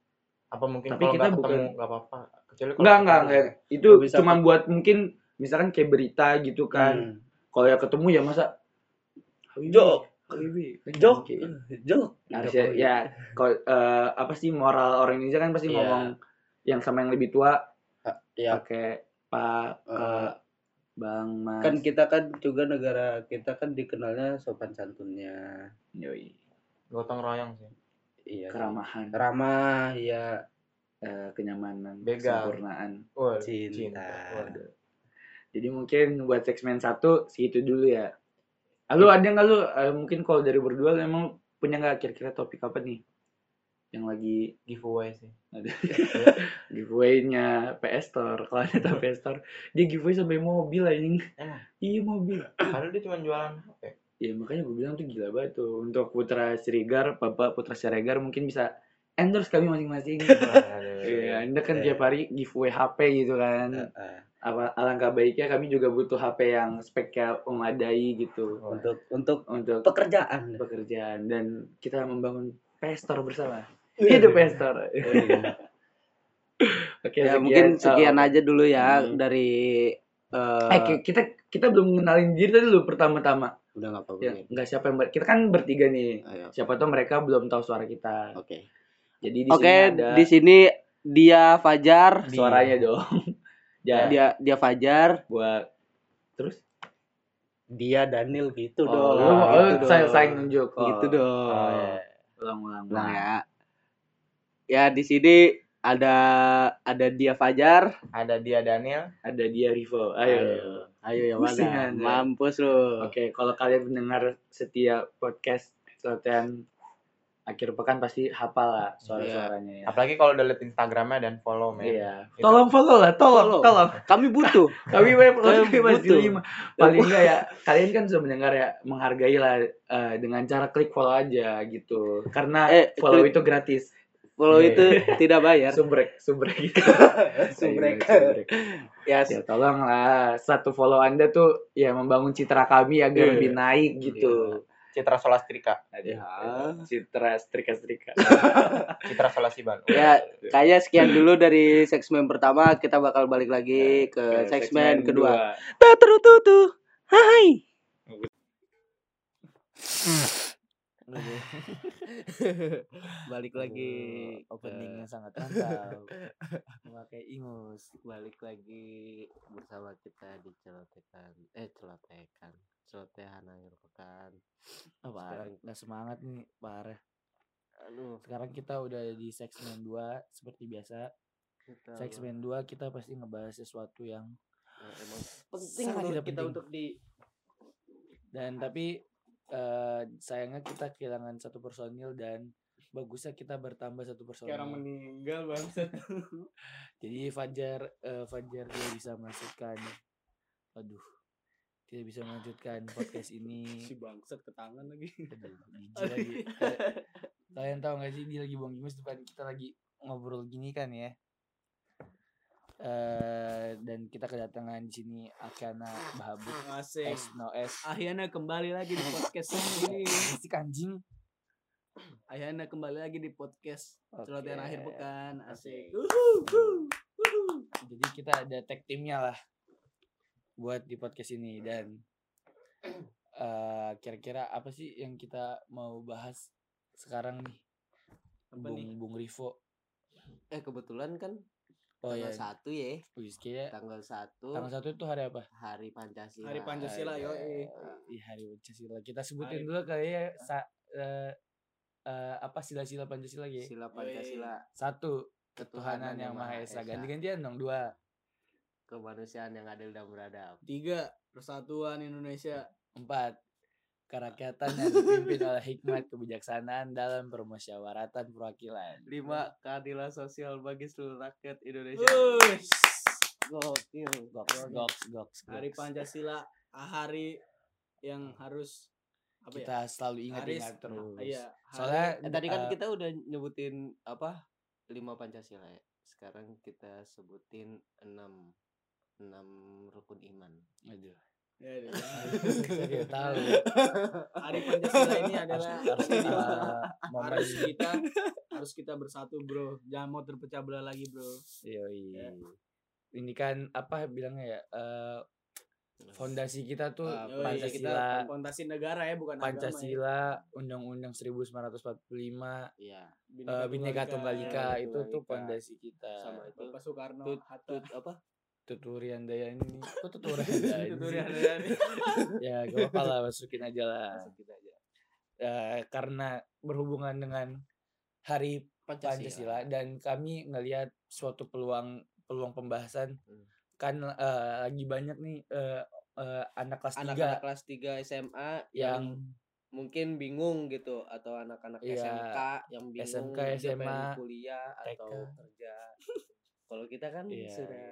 apa mungkin
Tapi
kalau
kita
nggak ketemu
bukan-
nggak apa-apa kecuali kalau
nggak
ketemu-
nggak nggak itu
Nggak bisa
cuma buat mungkin misalkan kayak berita gitu kan
Hmm.
kalau ya ketemu ya masa Habibie,
Jok.
Habibie, kan
jok
kayak-
jok
harusnya ya kalau eh, apa sih moral orang Indonesia kan pasti
Iya.
ngomong yang sama yang lebih tua
ya
pakai pak
Eh,
Kak, bang mas
kan kita kan juga negara kita kan dikenalnya sopan santunnya
Yoi.
gotong royong sih
iya
keramahan
ramah ya
eh, kenyamanan
Begal.
kesempurnaan
Waduh,
Cinta.
Waduh.
jadi mungkin buat segmen satu segitu dulu ya lalu
Iya.
ada nggak lu eh, mungkin kalau dari berdua lu emang punya nggak kira-kira topik apa nih yang lagi
giveaway sih
ada giveaway-nya PS Store kalau ada tau PS Store dia giveaway sampai mobil anjing
Eh.
Emang?
iya mobil
padahal dia cuma jualan
<laughs>
HP
Ya makanya gue bilang tuh gila banget tuh untuk Putra Siregar, Bapak Putra Siregar mungkin bisa endorse kami masing-masing.
<laughs>
Iya, Anda kan
Iya.
tiap hari giveaway HP gitu kan.
eh,
Apa alangkah baiknya kami juga butuh HP yang speknya memadai gitu
untuk untuk
untuk
<laughs> pekerjaan
pekerjaan dan kita membangun Pestor bersama.
Iya,
Hidup Pestor. Oke,
ya mungkin sekian
Oh,
aja dulu ya
Hmm.
dari eh,
Eh, ki- kita kita belum kenalin diri tadi dulu pertama-tama.
udah nggak apa-apa
Ya,
Gin.
nggak siapa yang ber- kita kan bertiga nih.
Ayo,
Siapa tahu mereka belum tahu suara kita.
oke
Jadi di
oke
sini ada
di sini dia Fajar
suaranya dong. <laughs> ya,
dia dia Fajar
buat terus
dia Daniel gitu
oh,
dong
oh,
gitu
saya
dong.
saing nunjuk. Oh,
gitu dong
Oh, iya. Ulang, ulang,
Ulang
ulang.
ya ya di sini ada ada dia Fajar
ada dia Daniel
Ada dia Rivo. Ayo.
ayo yang
Pusing
mana
aja.
mampus lu
Oke, kalau kalian mendengar setiap podcast Selatan akhir pekan pasti hafal lah suara-suaranya ya.
apalagi kalau udah liat Instagramnya dan follow men
Iya.
Itu.
Tolong follow lah,
Follow.
tolong, tolong.
kami butuh
Kami <laughs> web
Kalian
kami masih
butuh.
lima. Paling enggak ya, kalian kan sudah mendengar ya, menghargai lah eh, dengan cara klik follow aja gitu. Karena
Eh,
follow
klik-
itu gratis.
kalau
Iya.
itu <laughs> tidak bayar
Ya, Sumbrek, sumbrek
<laughs>
gitu.
Sumbrek.
Sumbrek.
ya
Ya tolong lah, satu follow Anda tuh ya membangun citra kami agar
Iya.
lebih naik gitu.
Citra Solastrika
Aduh,
Iya.
Citra strika-strika.
Eh,
Citra Solasiban
Ya, kayaknya sekian dulu dari segmen pertama. Kita bakal balik lagi ke segmen kedua. Tuturututu. Hai. balik lagi
Aduh, openingnya
ke-
sangat <laughs> mantap memakai ingus balik lagi bersama kita di celotekan eh celotekan celotehan akhir pekan Ah, parah nggak semangat nih parah aduh sekarang kita udah di segmen 2 seperti biasa segmen 2 kita pasti ngebahas sesuatu yang
penting
sangat
menurut
tidak
kita
penting.
untuk di
dan tapi eh, sayangnya kita kehilangan satu personil dan bagusnya kita bertambah satu personil
meninggal bangsa
<laughs> Jadi Fajar eh, Fajar tidak bisa melanjutkan. Aduh. Tidak bisa melanjutkan podcast
<laughs>
ini.
bangsat ke tangan lagi
Aduh, jijik lagi. Kal- Kalian tahu gak sih dia lagi buang gimus depan kita lagi ngobrol gini kan ya.
Eh, dan kita kedatangan di sini Akana Bahabut
Asik.
S No S
Akhirnya kembali lagi di podcast ini.
si anjing
Akhirnya kembali lagi di podcast
Oke.
celotehan akhir pekan. Asik.
Asik.
Uhuh, uhuh, uhuh.
jadi kita ada tag timnya lah buat di podcast ini dan eh, kira-kira apa sih yang kita mau bahas sekarang nih
Apa
Bung
nih?
Bung Rivo
Eh kebetulan kan
oh
tanggal
ya
iya.
satu ya,
wih, kayaknya
tanggal satu
tanggal satu itu hari apa
hari Pancasila.
Hari Pancasila
Hari-
yo.
Iya, hari Pancasila kita sebutin
Hari-
dulu kali ya sa- eh, eh, apa sila-sila Pancasila ya
Sila Pancasila,
satu ketuhanan yang maha esa ganti-gantian dong dua
Kemanusiaan yang adil dan beradab.
Tiga persatuan Indonesia.
Empat, kerakyatan yang dipimpin oleh hikmat kebijaksanaan dalam permusyawaratan perwakilan.
Lima keadilan sosial bagi seluruh rakyat Indonesia.
Wush.
Gokil.
Goks, goks, goks,
Hari
goks.
Pancasila hari yang harus apa ya?
Kita selalu
Haris-
ingat-ingat terus.
Iya. hari-
Soalnya
Eh, tadi kan
eh, <laughs>
kita udah nyebutin apa lima Pancasila ya. Sekarang kita sebutin enam enam rukun iman.
aduh,
Ya, ya.
saya tidak tahu eh,
Hari Pancasila ini
harus,
adalah
harus, eh, momen
harus kita harus kita bersatu bro jangan mau terpecah belah lagi bro
Yoi. Ya. Ini kan apa bilangnya ya? eh, fondasi kita tuh
Eh,
Yoi,
fondasi
kita
Ah, Pancasila,
fondasi negara ya bukan agama ya.
Pancasila, Undang-Undang 1945,
Iya.
eh, Bhinneka Tunggal Ika
Iya,
Bhinneka
itu tuh
Tunggal Ika.
fondasi kita.
Sama itu
Bapak Soekarno
Tut-
Hatta
tut apa?
Tuturian Dayani Kok Tuturian
<laughs>
Dayani
Tuturian
Ya gak apa lah masukin aja lah
Masukin aja.
Eh, Karena berhubungan dengan hari Pancasila Dan kami ngelihat suatu peluang peluang pembahasan
Hmm.
Kan eh, lagi banyak nih eh, eh, anak kelas iya,
anak-anak kelas 3 SMA yang
3 Yang
mungkin bingung gitu atau anak-anak
Iya,
SMK yang bingung
SMK,
dia pengen
SMA,
kuliah atau
TK.
kerja. Kalau kita kan
Iya.
sudah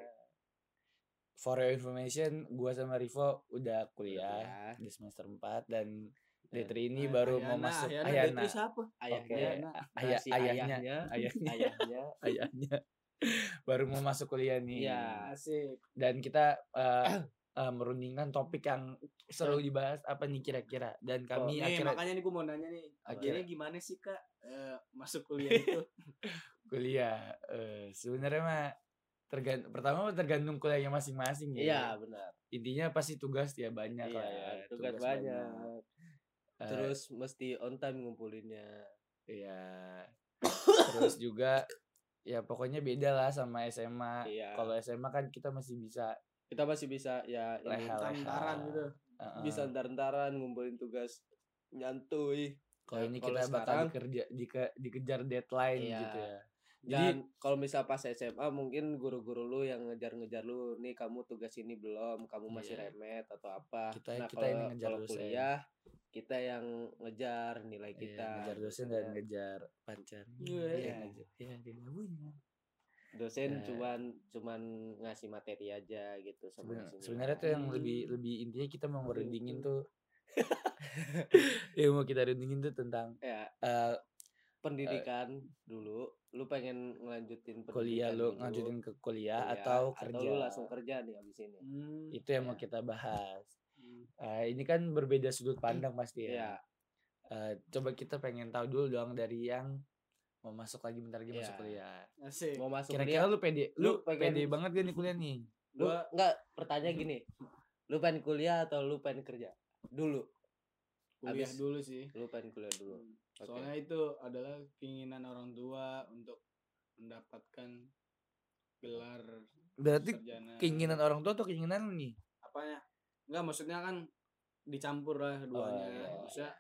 For your information Gua sama Rivo udah kuliah
kuliah.
Di semester 4 Dan
Dan
Detri ini
Ah,
baru mau
Ayana,
masuk
Ayana,
Ayana
Detri siapa
Ayahnya,
Oke.
Ayana.
Ayah-
si
ayahnya, ayahnya,
ayahnya.
ayahnya <laughs> baru mau masuk kuliah nih.
Iya.
asik
Dan kita eh,
<clears throat>
eh, merundingkan topik yang seru dibahas apa nih kira-kira. Dan kami
nih
akhirnya Oh, iya.
makanya nih gue mau nanya nih
akhirnya
jadi gimana sih kak eh, masuk kuliah
<laughs>
itu
kuliah eh, sebenarnya mah tergantung pertama mah tergantung kuliahnya masing-masing
Iya,
ya.
benar.
Intinya pasti tugas ya banyak
Iya,
lah ya.
tugas, banyak.
Eh,
Terus mesti on time ngumpulinnya.
iya. Terus juga ya pokoknya beda lah sama SMA.
Iya.
Nah, Kalau SMA kan kita masih bisa
Kita masih bisa ya ini
Leha-leha.
tantaran gitu
eh, eh,
bisa ntar-ntaran ngumpulin tugas nyantui.
Kalau
Nah,
ini
kalau
kita bakal
sekarang-
dikerja, dike- dikejar deadline
Iya.
gitu ya. Jadi-
Dan kalau misal pas SMA mungkin guru-guru lu yang ngejar-ngejar lu, nih kamu tugas ini belum, kamu masih
Iya.
remet atau apa.
Kita-
nah,
kita yang
kalau-
ngejar
kalau
dosen.
kuliah kita yang ngejar nilai
Iya,
kita. Iya.
ngejar dosen dan ngejar pacar.
Iya.
ngejar. Iya, dia punya.
Dosen
Eh.
cuman cuman ngasih materi aja gitu sama
Sebenar-
ngasih
Sebenarnya tuh
nilai.
yang lebih lebih intinya kita
Iya,
mau merundingin tuh <laughs> yang mau kita rundingin tuh tentang
ya
eh,
pendidikan dulu, lu pengen ngelanjutin pendidikan
kuliah lo
dulu,
lanjutin ke kuliah,
Iya, kuliah,
atau
atau
kerja.
lu langsung kerja nih abis ini.
Hmm,
Itu yang mau
Iya.
kita bahas. Eh, ini kan berbeda sudut pandang pasti ya.
Hmm. Iya.
Eh, coba kita pengen tahu dulu dong dari yang mau masuk lagi bentar lagi masuk
Iya.
kuliah.
asik
Mau masuk
Kira-kira lu pede, lu,
lu pengen-
pede banget gak nih kuliah nih?
lu
Gua-
enggak pertanyaan gini lu pengen kuliah atau lu pengen kerja dulu
kuliah
abis-
dulu sih
lu pengen kuliah dulu
Hmm.
Oke.
Soalnya itu adalah keinginan orang tua untuk mendapatkan gelar
Berarti
sarjana.
keinginan orang tua atau keinginan lu nih?
apanya? Enggak, maksudnya kan dicampur lah duanya.
iya, iya.
Maksudnya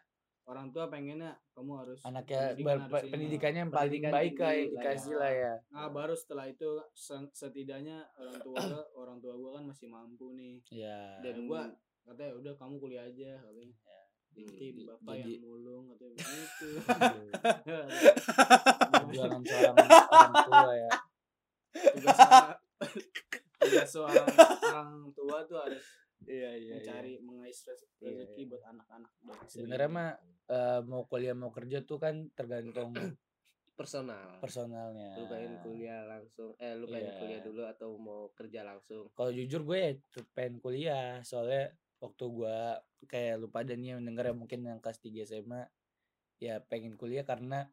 orang tua pengennya kamu harus
Anaknya
pendidikan
ber-
harus ini.
pendidikannya yang paling
Pendidikan
baik
tinggi
kayak
lah
dikasih
ya.
lah ya.
Nah, baru setelah itu sen- setidaknya orang tua
<coughs>
gua- orang tua gua kan masih mampu nih.
Iya.
Dan
Dan-
gua katanya "Ya udah kamu kuliah aja katanya. Nanti
Jadi-
bapak
jadi-
yang mulung atau begitu.
<laughs> <laughs> Perjuangan seorang orang tua ya.
tugas seorang-
<laughs>
tugas seorang orang tua tuh harus
iya iya
mencari mengais rez-
Iya,
rezeki
iya.
buat anak-anak dan
Sebenarnya mah eh, mau kuliah mau kerja tuh kan tergantung
personal.
personalnya.
Lu pengen kuliah langsung eh lu pengen
Iya.
kuliah dulu atau mau kerja langsung?
Kalau jujur gue ya cu- pengen kuliah soalnya waktu gue kayak lupa dan yang denger ya mungkin yang kelas 3 SMA ya pengen kuliah karena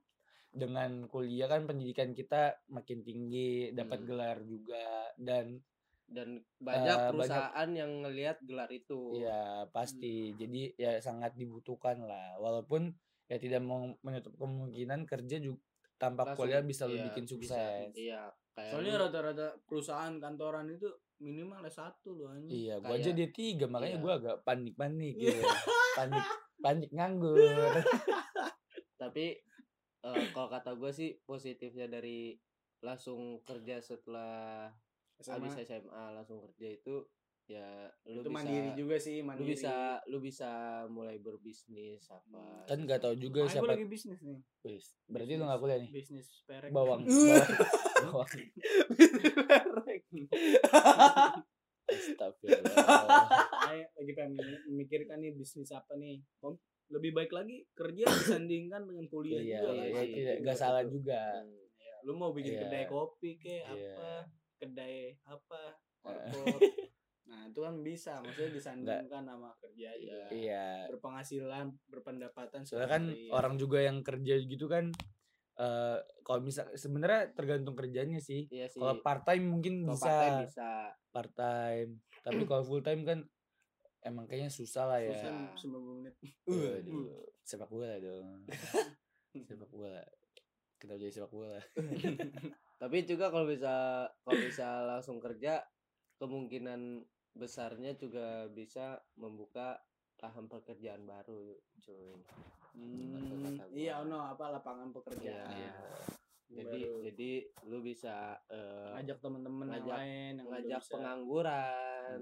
dengan kuliah kan pendidikan kita makin tinggi, dapat
Hmm.
gelar juga dan
Dan banyak
banyak-
perusahaan yang ngelihat gelar itu.
Iya pasti. Jadi ya sangat dibutuhkan lah. Walaupun ya tidak mau menutup kemungkinan kerja juga tanpa
Langsung,
kuliah bisa lu
iya,
bikin
bisa.
sukses.
Iya, kayak
Soalnya
lu-
rata-rata perusahaan kantoran itu minimal S1 loh anjing.
Iya, gua aja
kayak-
D3 makanya
iya.
gua agak panik-panik
Iya.
gitu. panik panik nganggur.
tapi eh, kalau kata gue sih positifnya dari langsung kerja setelah
SMA.
habis SMA langsung kerja itu ya lu
Itu
bisa
mandiri juga sih,
lu
mandiri.
bisa lu bisa mulai berbisnis apa
kan nggak tahu juga
Makanya gua
siapa.
lagi bisnis nih.
Wis, berarti lu nggak kuliah nih.
Bisnis perek. <laughs>
Bawang.
Bisnis
Bawang.
perek.
Astagfirullah.
Saya lagi pengen memikirkan nih bisnis apa nih. Om, Lebih baik lagi kerja disandingkan dengan
Iya,
kuliah
iya,
juga kan.
iya,
sih,
tidak
itu
nggak
nggak
salah
betul.
juga.
Iya, Lu mau bikin
Iya.
kedai kopi ke
Iya. Eh.
apa? Kedai apa? Warkop.
<laughs>
nah, itu kan bisa maksudnya disandingkan sama kerja aja.
Iya,
Berpenghasilan, berpendapatan
soalnya kan
Iya,
sehari-hari.
orang juga yang kerja gitu kan eh kalau misal sebenarnya tergantung kerjanya sih
iya sih
kalau part time mungkin
Kalau
bisa
part time bisa
part time tapi kalau full time kan emang kayaknya susah lah ya
Susah
Iya.
90 Kan menit.
Waduh, sepak bola
<laughs>
dong sepak bola kita jadi sepak bola
tapi juga kalau bisa kalau bisa langsung kerja kemungkinan besarnya juga bisa membuka lahan pekerjaan baru cuy
Hmm,
kata
iya
gua.
ono apa lapangan pekerjaan.
Iya. jadi
Baru
jadi lu bisa eh,
ngajak teman-teman yang
ngajak-
lain yang udah
mengajak
bisa.
pengangguran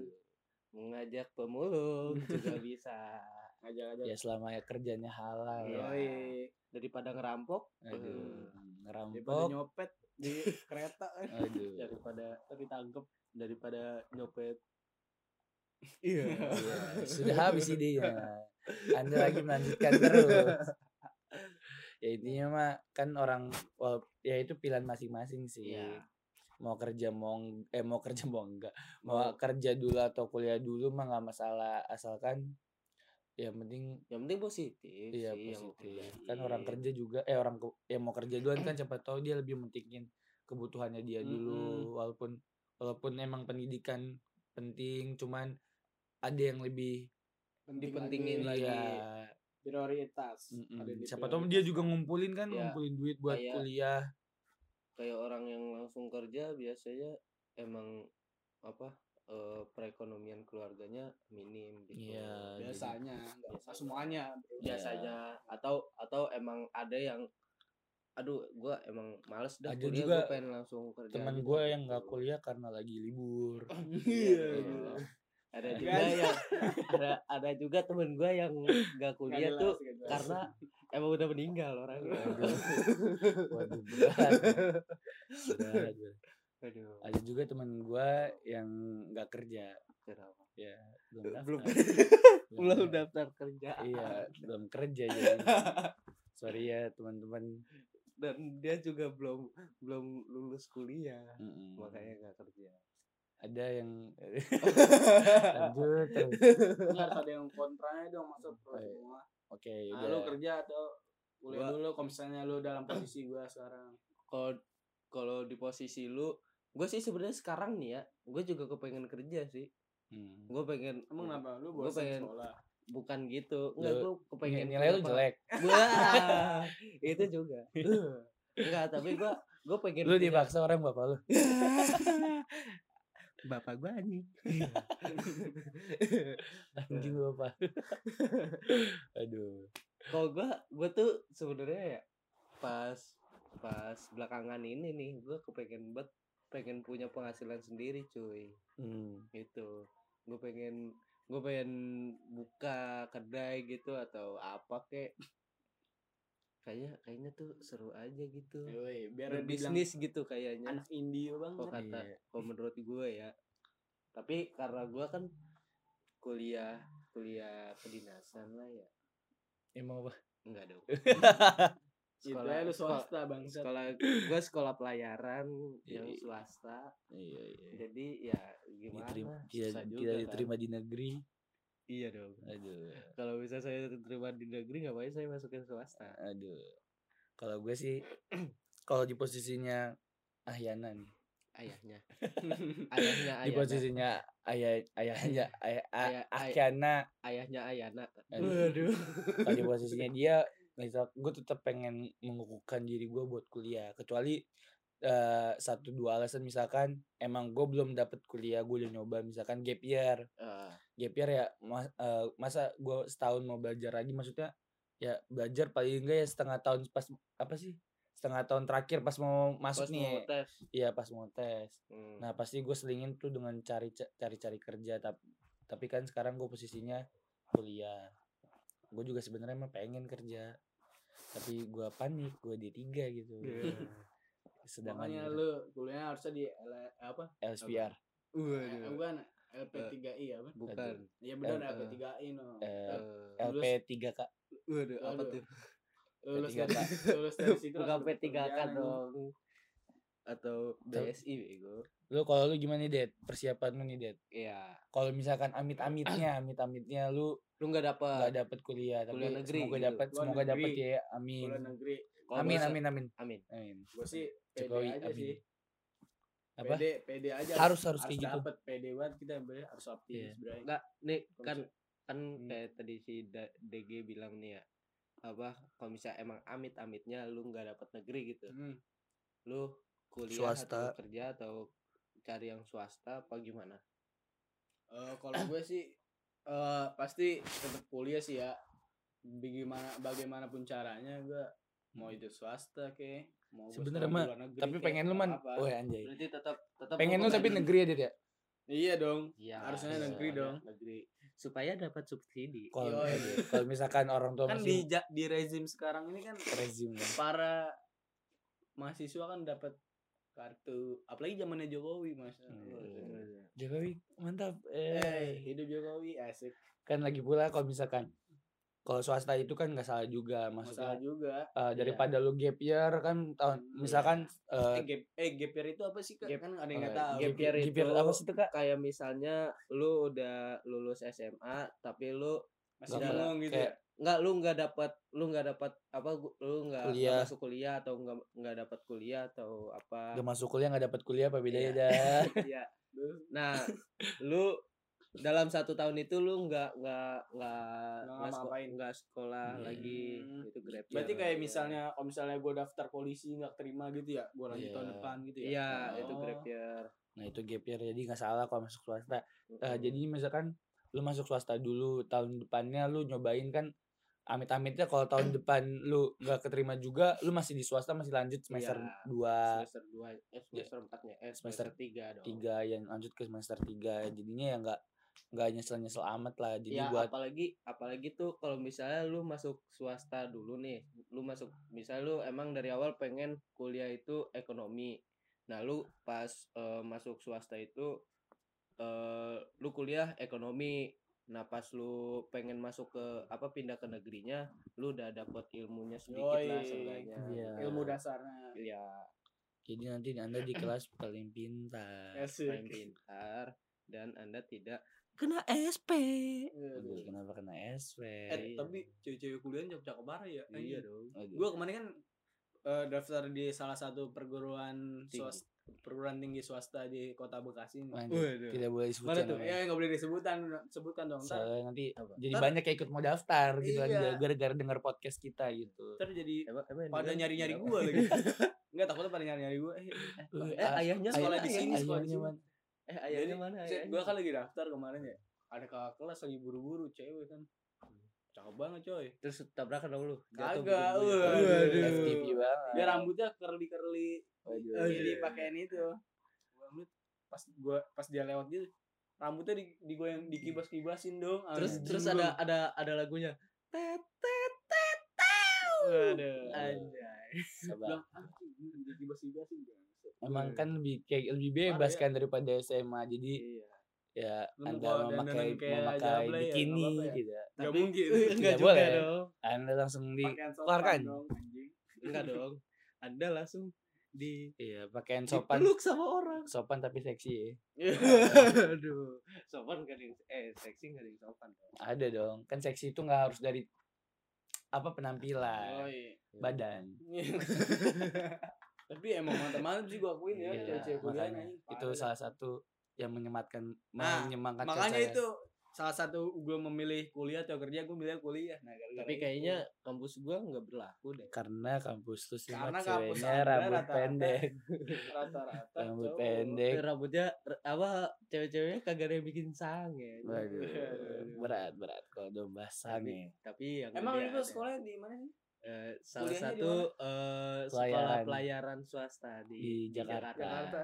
mengajak pemulung juga bisa
ngajak-ngajak.
ya selama ya kerjanya halal
Iya.
ya.
Yoi.
daripada ngerampok
aduh
Daripada
ngerampok
nyopet
<laughs>
di kereta kan.
aduh
Ya,
daripada tapi tanggep daripada nyopet.
iya sudah habis idenya anda lagi melanjutkan terus ya intinya mah kan orang wal- ya itu pilihan masing-masing sih
Iya.
mau kerja mau eng- eh mau kerja mau enggak mau kerja dulu atau kuliah dulu mah nggak masalah asalkan ya penting
yang penting positif
iya
sih yang lu
positif
kerjain.
kan orang kerja juga eh orang ke- ya mau kerja duluan kan siapa tahu dia lebih mementingin kebutuhannya dia dulu walaupun walaupun emang pendidikan penting cuman ada yang lebih
dipentingin lagi
Iya.
prioritas.
Mm-mm.
Ada di
Siapa tahu
prioritas.
dia juga ngumpulin kan,
Iya.
ngumpulin duit buat
Kayak-
kuliah.
kayak orang yang langsung kerja biasanya emang apa eh, perekonomian keluarganya minim gitu Iya.
Iya, jadi-
biasanya nggak usah semuanya bro.
biasanya atau atau emang ada yang aduh gua emang males dah
Ada
kuliah
juga
gua pengen langsung kerja
Temen
aja
gue
dah
yang nggak
gitu.
kuliah karena lagi
<laughs>
libur.
Iya.
Iya. ada
Gak
juga
jelas,
yang ada, ada juga temen gue yang nggak
nggak
kuliah
jelas,
tuh
nggak jelas.
karena emang udah meninggal orangnya <laughs>
Waduh, waduh berat. Berat, berat.
Aduh,
Ada juga temen gue yang nggak kerja. Ya,
kenapa?
Belum
Belum
daftar.
<laughs> belum
daftar.
daftar kerja
Iya, belum kerja jadi.
<laughs>
Sorry ya teman-teman.
dan dia juga belum belum lulus kuliah
Mm-mm.
makanya nggak kerja
Ada
<laughs>
yang <laughs> lanjut. terus.
Lu harus ada yang kontranya dong masuk pro
Baik.
semua.
Oke,
Nah,
Ah,
udah.
lu kerja atau kuliah
Iya. Gua-
dulu kalau misalnya lu dalam posisi gua sekarang.
kalau kalau di posisi lu gue sih sebenarnya sekarang nih ya gue juga kepengen kerja sih
Hmm.
gue pengen
Emang kenapa?
Iya.
Lu
Gua
bosan
pengen-
sekolah.
bukan gitu nggak
Lu-
gue kepengen
nilai
punya
lu
pengalaman.
Iya, jelek.
Wah, <laughs> itu juga. Enggak, tapi gua gua pengen
Lu
punya-
dipaksa orang bapak <laughs> lu.
Bapak gua anjing.
Iya. <laughs> Anjing lu <laughs> bapak. Aduh.
Kalau gua gua tuh sebenarnya ya pas pas belakangan ini nih gua kepengen bet pengen punya penghasilan sendiri, cuy.
Hmm.
Gitu. Gua pengen gua pengen buka kedai gitu atau apa kek. Kayaknya kayaknya tuh seru aja gitu.
Yoi, biar dibilang
Berbisnis gitu kayaknya.
anak Indio banget.
kok kata
Iya. Hmm.
kok menurut gue ya tapi karena gue kan kuliah kuliah kedinasan lah ya
Emang apa? <laughs>
enggak dong
Itu ya lu
sekolah,
swasta bangsa.
sekolah gue sekolah pelayaran
Iya,
yang
iya.
swasta
Iya, iya.
jadi ya gimana
Diterima,
susah
tidak,
juga
tidak
kan.
diterima di negeri.
iya dong
Aduh,
kalau bisa saya diterima di negeri ngapain saya masukin swasta
aduh. Kalau gue sih, <clears throat> kalau di posisinya Ahyana nih, <laughs>
ayahnya ayahnya
di
ayahnya
posisinya ayah <clears throat> ayahnya ayah,
Ayah- ay-
Ahyana,
ayahnya Eh, ayahna
aduh. kalau di posisinya dia misal gue tetap pengen mengukuhkan diri gue buat kuliah kecuali eh, satu dua alasan misalkan emang gue belum dapet kuliah gue udah nyoba misalkan gap year
Eh,
gap year ya mas- eh, masa gue setahun mau belajar lagi maksudnya ya belajar paling enggak ya setengah tahun pas apa sih setengah tahun terakhir pas mau masuk
pas mau
nih
tes
iya pas mau tes
hmm.
Nah pasti gue selingin tuh dengan cari cari cari kerja tapi tapi kan sekarang gue posisinya kuliah. Gue juga sebenarnya emang pengen kerja tapi gue panik gue D3 gitu. <laughs> Sedangkan
Iya. Makanya
gitu,
lu kuliahnya harusnya di L- apa?
LSPR
Eh,
Waduh.
bukan LP3I apa?
bukan
Ya benar
Eh,
LP3I no.
eh,
Eh,
LP 3 k
waduh apa
Waduh.
tuh
Lulus
P3K.
dari <laughs> lulus dari situ
bukan
langsung
P3K
kerjaan, anjing.
dong atau BSI bego
Lu kalau lu gimana nih Det? Persiapan lu nih Det?
iya
Kalau misalkan amit-amitnya,
Ah.
amit-amitnya lu
lu nggak
nggak
dapet
dapet kuliah tapi
kuliah negeri
semoga
gitu.
dapat
Luar
semoga dapat
negeri.
ya amin.
Kuliah negeri.
Kalau
Amin
bisa-
amin amin
amin
amin.
Gue sih pede
Jokowi
aja
amin.
sih.
Apa?
PD, PD aja.
Harus- harus kayak gitu.
dapet PD banget kita bre, harus optimis bre.
Enggak, nih
Kalau gitu.
kan kan kayak tadi si Da- DG bilang nih ya apa kalau misalnya emang amit-amitnya lu nggak dapat negeri gitu
Hmm.
lu kuliah atau
Swasta.
kerja atau cari yang swasta apa gimana
Eh, kalau gue sih eh pasti tetap kuliah sih ya. Bagaimana bagaimanapun caranya gue mau itu swasta ke mau gua
Sebenarnya mah,
sekolah di luar negeri
Tapi
kek,
pengen lu
nggak
man.
apa-apa.
Woi anjay.
berarti tetap tetap
Pengen lu
kan.
tapi negeri ya Det ya?
Iya dong.
Iya,
Harusnya negeri
ada
dong.
negeri supaya dapat subsidi
kalau
Yoi.
<laughs> kalau misalkan orang tua
Kan di
masih
ja- di rezim sekarang ini kan
rezim kan.
para mahasiswa kan dapat kartu apalagi zamannya Jokowi mas
Jokowi mantap
eh
eh.
hidup Jokowi asik
kan lagi pula kalau misalkan kalau swasta itu kan nggak salah juga
masalah
maksudnya
juga Iya.
eh, daripada lu gap year kan tahun misalkan
eh
eh,
gap eh gap year itu apa sih kak
Gap-
kan ada yang nggak
eh,
tahu
gap year
gap year
itu-
apa sih itu kak
kayak misalnya lu udah lulus SMA tapi lu
masih
Gak
bingung gitu
kayak-
Iya nggak lu nggak dapat lu nggak dapat apa gu- lu nggak nggak
Kuliah.
masuk kuliah atau nggak nggak dapat kuliah atau apa
<laughs>
udah masuk kuliah nggak dapat kuliah apa bedanya
Iya.
dah
Iya. nah lu dalam satu tahun itu lu nggak nggak nggak
Nggak
nggak seko-
ngapa-ngapain.
nggak sekolah
Hmm.
lagi itu grab
ya. berarti
year.
kayak misalnya kalau misalnya gue daftar polisi nggak terima gitu ya gue lanjut tahun
Iya.
depan gitu ya
iya
Oh.
itu grab year
nah itu gap year jadi nggak salah kalau masuk swasta Eh, jadi misalkan lu masuk swasta dulu tahun depannya lu nyobain kan amit-amitnya kalau tahun depan lu nggak keterima juga lu masih di swasta masih lanjut semester
Iya,
dua
semester dua eh, semester empatnya eh
Ya. semester
semester tiga dong
tiga yang lanjut ke semester tiga jadinya ya nggak nggak nyesel nyesel amat lah jadi
ya
buat
apalagi apalagi tuh kalau misalnya lu masuk swasta dulu nih lu masuk misalnya lu emang dari awal pengen kuliah itu ekonomi nah lu pas eh, masuk swasta itu eh lu kuliah ekonomi nah pas lu pengen masuk ke apa pindah ke negerinya lu udah dapet ilmunya sedikit lah
Yoi.
seenggaknya
Iya.
ilmu dasarnya
ya
jadi nanti anda di kelas paling
Eh.
pintar
main
asik Iya,
pintar dan anda tidak
kena SP Aduh,
Aduh.
kenapa kena SP
eh iya. tapi cewek-cewek kuliah cakep-cakep banget ya anjing.
dong
Aduh.
gue kemarin kan eh, daftar di salah satu perguruan
Tinggi.
swasta perguruan tinggi swasta di kota Bekasi ini.
Mantap. tidak boleh disebut
Mana tuh? Ya nggak boleh disebutan, sebutkan dong. Ntar,
soalnya nanti
Apa?
jadi
Ntar-
banyak yang ikut mau daftar gitu kan
Iya.
gara- gara-gara dengar podcast kita gitu
ntar jadi
emang, emang yang
pada
denger
nyari-nyari
berapa?
gue lagi. <laughs> Enggak takutnya pada nyari-nyari gue.
Uh,
<laughs> eh ayahnya
sekolah
mana
di
ya?
sini, sekolah di
ayahnya,
sini.
Man.
eh ayahnya
Jadi,
mana
Iya.
Set,
ayahnya?
Gue kan lagi daftar kemarin ya. Ada kakak kelas lagi buru-buru cewek kan. Cakep banget coy.
terus tabrakan dong lu ya.
Kagak,
begitu-begitu.
waduh. Waduh.
FTV banget
Dia rambutnya curly-curly.
Iya. Waduh.
Jadi pakaian itu. Gua ngeliat, Pas gua pas dia lewat gitu rambutnya di, digoyang dikibas-kibasin dong.
terus
anjing
terus
gua.
ada ada ada lagunya tet tet tet
Waduh.
anjay
Sabar.
Bilang, "Ah, "Anjing, ini dikibas-kibasin bangsa."
emang kan lebih kayak lebih bebas
Parah ya.
kan daripada SMA jadi
Iya.
ya
Lu mau
anda
bawa dandanan
memakai
kayak
memakai
Jablay ya, nggak
bikini
apa-apa ya.
tidak <laughs>
Gak mungkin.
Tidak
enggak juga
boleh.
dong
anda langsung di
Pakaian sopan
Keluarkan.
dong anjing.
enggak dong anda langsung di
Iya, pakaian sopan.
dipeluk sama orang
Sopan tapi seksi ya.
aduh sopan gak ada yang eh seksi gak ada yang sopan dong
Ada dong. Kan seksi itu nggak harus dari apa penampilan,
Oh, iya.
badan.
Tapi emang mantap-mantap sih gua akuin ya,
Iya,
cewek-cewek kuliahan
makanya
anjing,
itu
parah dah.
salah satu yang menyematkan
Nah,
menyemangatkan
Makanya
saya.
itu salah satu gue memilih kuliah atau kerja gue milih kuliah. Nah, gara-gara
tapi
itu.
kayaknya kampus gua nggak berlaku deh
karena kampus lu semua
Karena kampus
ceweknya
Anda
rambut
rata-rata
pendek,
rata-rata
rambut
cowok.
pendek.
Eh, rambutnya r- apa cewek-ceweknya kagak ada yang bikin sang ya
Waduh,
Aduh.
berat berat kalau domba ya, sange.
tapi yang
Emang
gede
itu
ada.
sekolahnya di mana sih?
Eh, salah
kuliahnya di
satu eh, sekolah
Pelayaran.
pelayaran swasta di,
Di Jakarta.
Jakarta.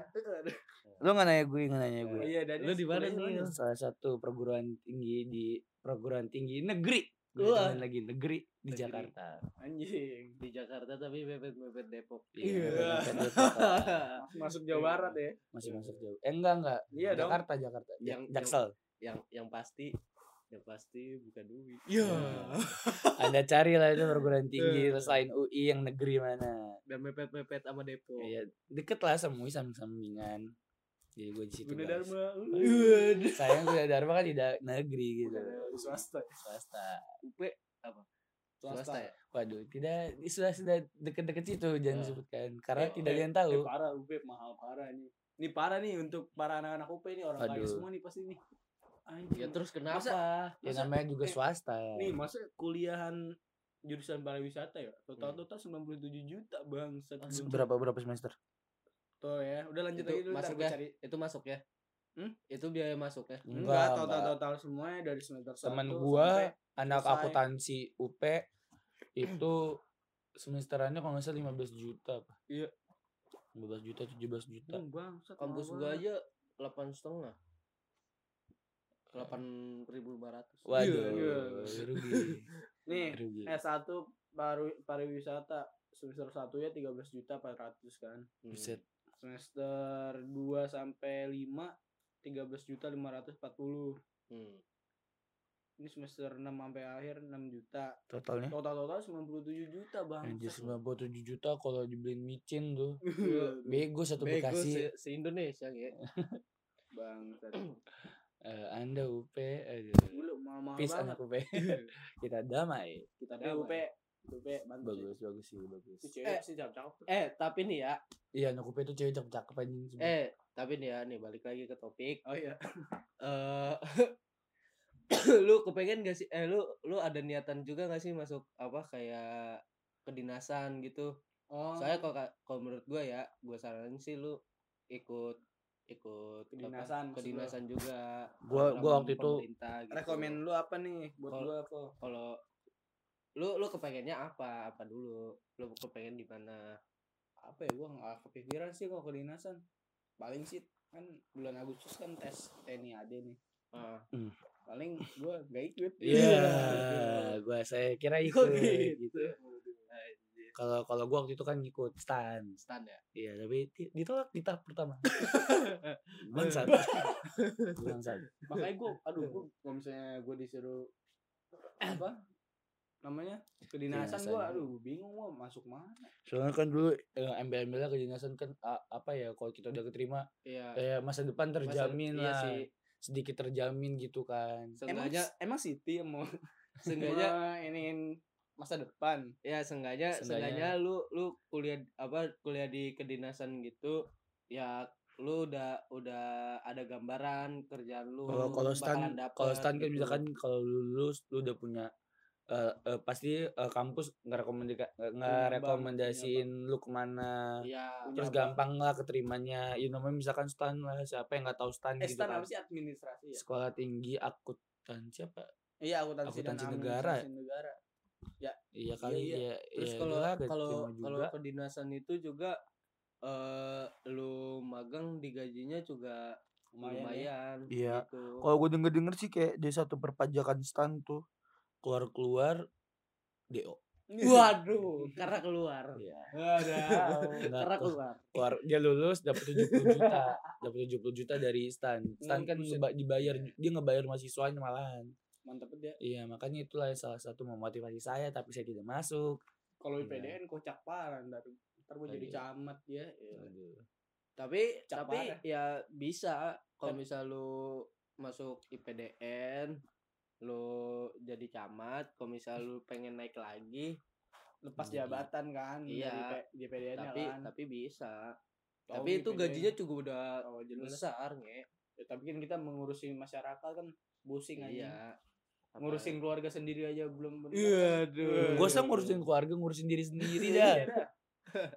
Lu nggak nanya gue, nggak nanya gue.
Iya, dan
Lu di mana nih?
sekolahnya-
Salah satu perguruan tinggi di perguruan tinggi negeri.
Wah.
Wah. lagi negeri di
Negeri.
Jakarta.
Anjing.
di Jakarta tapi mepet-mepet Depok
Iya.
bukan Jakarta.
<laughs>
Masuk Jawa Barat ya.
Masih masuk jauh. Eh enggak enggak.
Iya dong.
Jakarta Jakarta. Ja-
Yang-
Jaksel.
yang yang pasti yang pasti bukan duit
Iya.
Anda carilah itu perguruan tinggi
Iya.
selain UI yang negeri mana.
dan mepet-mepet sama Depok
Iya, deket lah sama UI samping-sampingan. Jadi gue di situ.
Guna
guys.
Dharma. Iya.
Sayang gue Dharma kan di da- negeri gitu.
Udah swasta.
Swasta.
UP apa swasta ya
Waduh, tidak sudah sudah deket-deket situ jangan
Eh.
disebutkan karena
Eh,
tidak ada yang
Eh,
tahu.
parah UB mahal parah nih. Ini parah nih untuk para anak-anak UP nih orang kaya
Aduh.
semua nih pasti nih. Anjing.
ya terus kenapa
ya
masa-
namanya juga
eh,
swasta.
Nih, masa kuliahan jurusan pariwisata ya? Total-total 97 juta, Bang.
Berapa berapa semester?
Tuh ya, udah lanjut
Itu
lagi dulu ntar
masuk
gue
ya?
cari.
itu masuk ya
Hmm?
itu biaya masuk ya
Iya.
Enggak,
enggak.
total-total semuanya dari semester
Temen
satu
gua
sampai-
anak
selesai.
akuntansi UP itu semesterannya kalau nggak salah 15 juta apa?
Iya.
15 juta 17 juta.
Hmm, bangsat,
kampus
mahal
gua
banget.
aja delapan setengah delapan ribu lima ratus
Waduh,
iya. eh,
rugi.
Nih,
rugi.
S1 baru pariwisata semester 1 ya 13 juta 400 kan.
Hmm.
Buset.
Semester 2 sampai 5 13 juta 540.
Hmm.
Ini semester 6 sampai akhir 6 juta.
Totalnya
Total-total 97 juta, Bang.
Anjir 97 juta kalau dibeliin micin tuh.
Iya.
Bego satu
Bego
Bekasi.
se, Indonesia ya
Bangsat.
Eh, anda UP aduh.
Gila, mahal-mahal
Peace
banget.
anak UP <laughs> Kita damai
Kita
damai.
UP, UP bantu sih.
Bagus bagus sih bagus
Itu cewek
Eh.
sih cakep-cakep.
eh tapi nih ya
Iya anak UP itu cewek cakep-cakep anjing semua.
eh tapi nih ya nih balik lagi ke topik
Oh iya.
<laughs> eh <coughs> lu kepengen gak sih eh lu lu ada niatan juga gak sih masuk apa kayak kedinasan gitu
Oh.
soalnya kalau ka- kalau menurut gua ya gua saranin sih lu ikut ikut apa,
Kedinasan maksud lu?
kedinasan juga
Gua-
program
gua waktu itu
pemerintah gitu.
Rekomen lu apa nih buat
Kalau-
gua kok?
kalau lu lu kepengennya apa apa dulu lu kepengen di mana
apa ya gua nggak kepikiran sih kalau kedinasan paling sih kan bulan Agustus kan tes TNI AD nih
Ah,
paling gua gak ikut
Iya, gua saya kira ikut gitu. Kalau kalau gua waktu itu kan ikut stan.
stan ya
Iya, tapi di- ditolak di tahap pertama. Bangsat. Bangsat.
makanya <laughs> gua aduh gua kalau misalnya gua disuruh apa namanya kedinasan
Kedinasan.
gua aduh bingung gua masuk mana
Soalnya kan dulu eh, ambil-ambilnya kedinasan kan a- apa ya kalau kita udah keterima
iya
kayak masa depan
Masa- iya
terjamin Eh, lah.
sih
Sedikit terjamin gitu kan.
emang
seenggaknya
emang Siti
<laughs>
yang mau
seenggaknya
ini masa depan
ya seenggaknya
Seenggaknya.
seenggaknya lu lu kuliah apa kuliah di kedinasan gitu ya lu udah udah ada gambaran kerjaan lu
Kalau kalau stan
bakalan dapet
kalau stan kan
gitu.
misalkan kalau lu lulus lu udah punya eh, eh, pasti eh, kampus nggak rekomendika- nggak
Punya bank,
rekomendasiin lu kemana
ya
terus gampang lah keterimanya ya namanya misalkan stan lah siapa yang nggak tahu stan
eh
gitu
stan
kan.
apa sih administrasi ya
sekolah tinggi akuntansi apa
iya akuntansi dan
Akuntansi negara ya?
administrasi negara
iya kali
iya.
ya
terus
ya
kalau
udahlah, gak
kalau
diterima
kalau
juga.
kedinasan itu juga eh lu magang di gajinya juga
Lumayan ya.
lumayan,
Iya.
gitu.
Kalau gue denger denger sih kayak dia satu perpajakan stan tuh keluar keluar do
waduh karena keluar
Iya.
Waduh.
Nggak
karena
tuh.
keluar
keluar dia lulus dapat 70
<laughs>
juta dapat 70 juta dari stan stan kan
Hmm, Buset. Iya.
ngeba- dibayar dia ngebayar mahasiswanya malahan
mantep dia
iya makanya itulah salah satu memotivasi saya tapi saya tidak masuk
kalau
Iya.
IPDN kocak parah ntar ntar gue jadi
Lagi.
camat ya
Aduh.
tapi
Cak
tapi
parah. Iya.
ya bisa kalau
Tapi-
misal lu masuk IPDN lu jadi camat kalau misal lu pengen naik lagi
lepas
Iya.
jabatan kan
Iya.
dari P- di PDN nya
tapi
kan
tapi bisa
Tahu
tapi itu
IPDN.
gajinya juga udah
Oh, jelas.
besar nge
Ya, tapi kan kita mengurusi masyarakat kan pusing aja
iya Apa-
ngurusin keluarga sendiri aja belum bener.
Iya,
Aduh. Iya,
Gue usah ngurusin keluarga, ngurusin diri sendiri dah.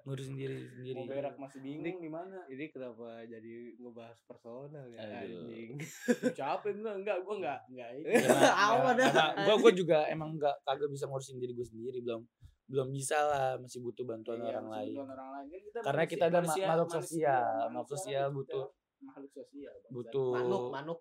Ngurusin diri sendiri.
mau berak masih bingung di mana
ini kenapa jadi ngebahas personal ya
Aduh.
anjing <laughs>
capek enggak enggak gue enggak enggak
Iya,
ini.
Awan dah.
Gue gue juga emang nggak kagak bisa ngurusin diri gue sendiri belum belum bisa lah masih butuh bantuan
Iya,
orang
maksud
lain.
bantuan orang lain. Kan
Karena kita ada ma- makhluk
manusia-
sosial. Makhluk
manusia kan
sosial
kita
butuh-
makhluk sosial bangsa.
Butuh.
manuk manuk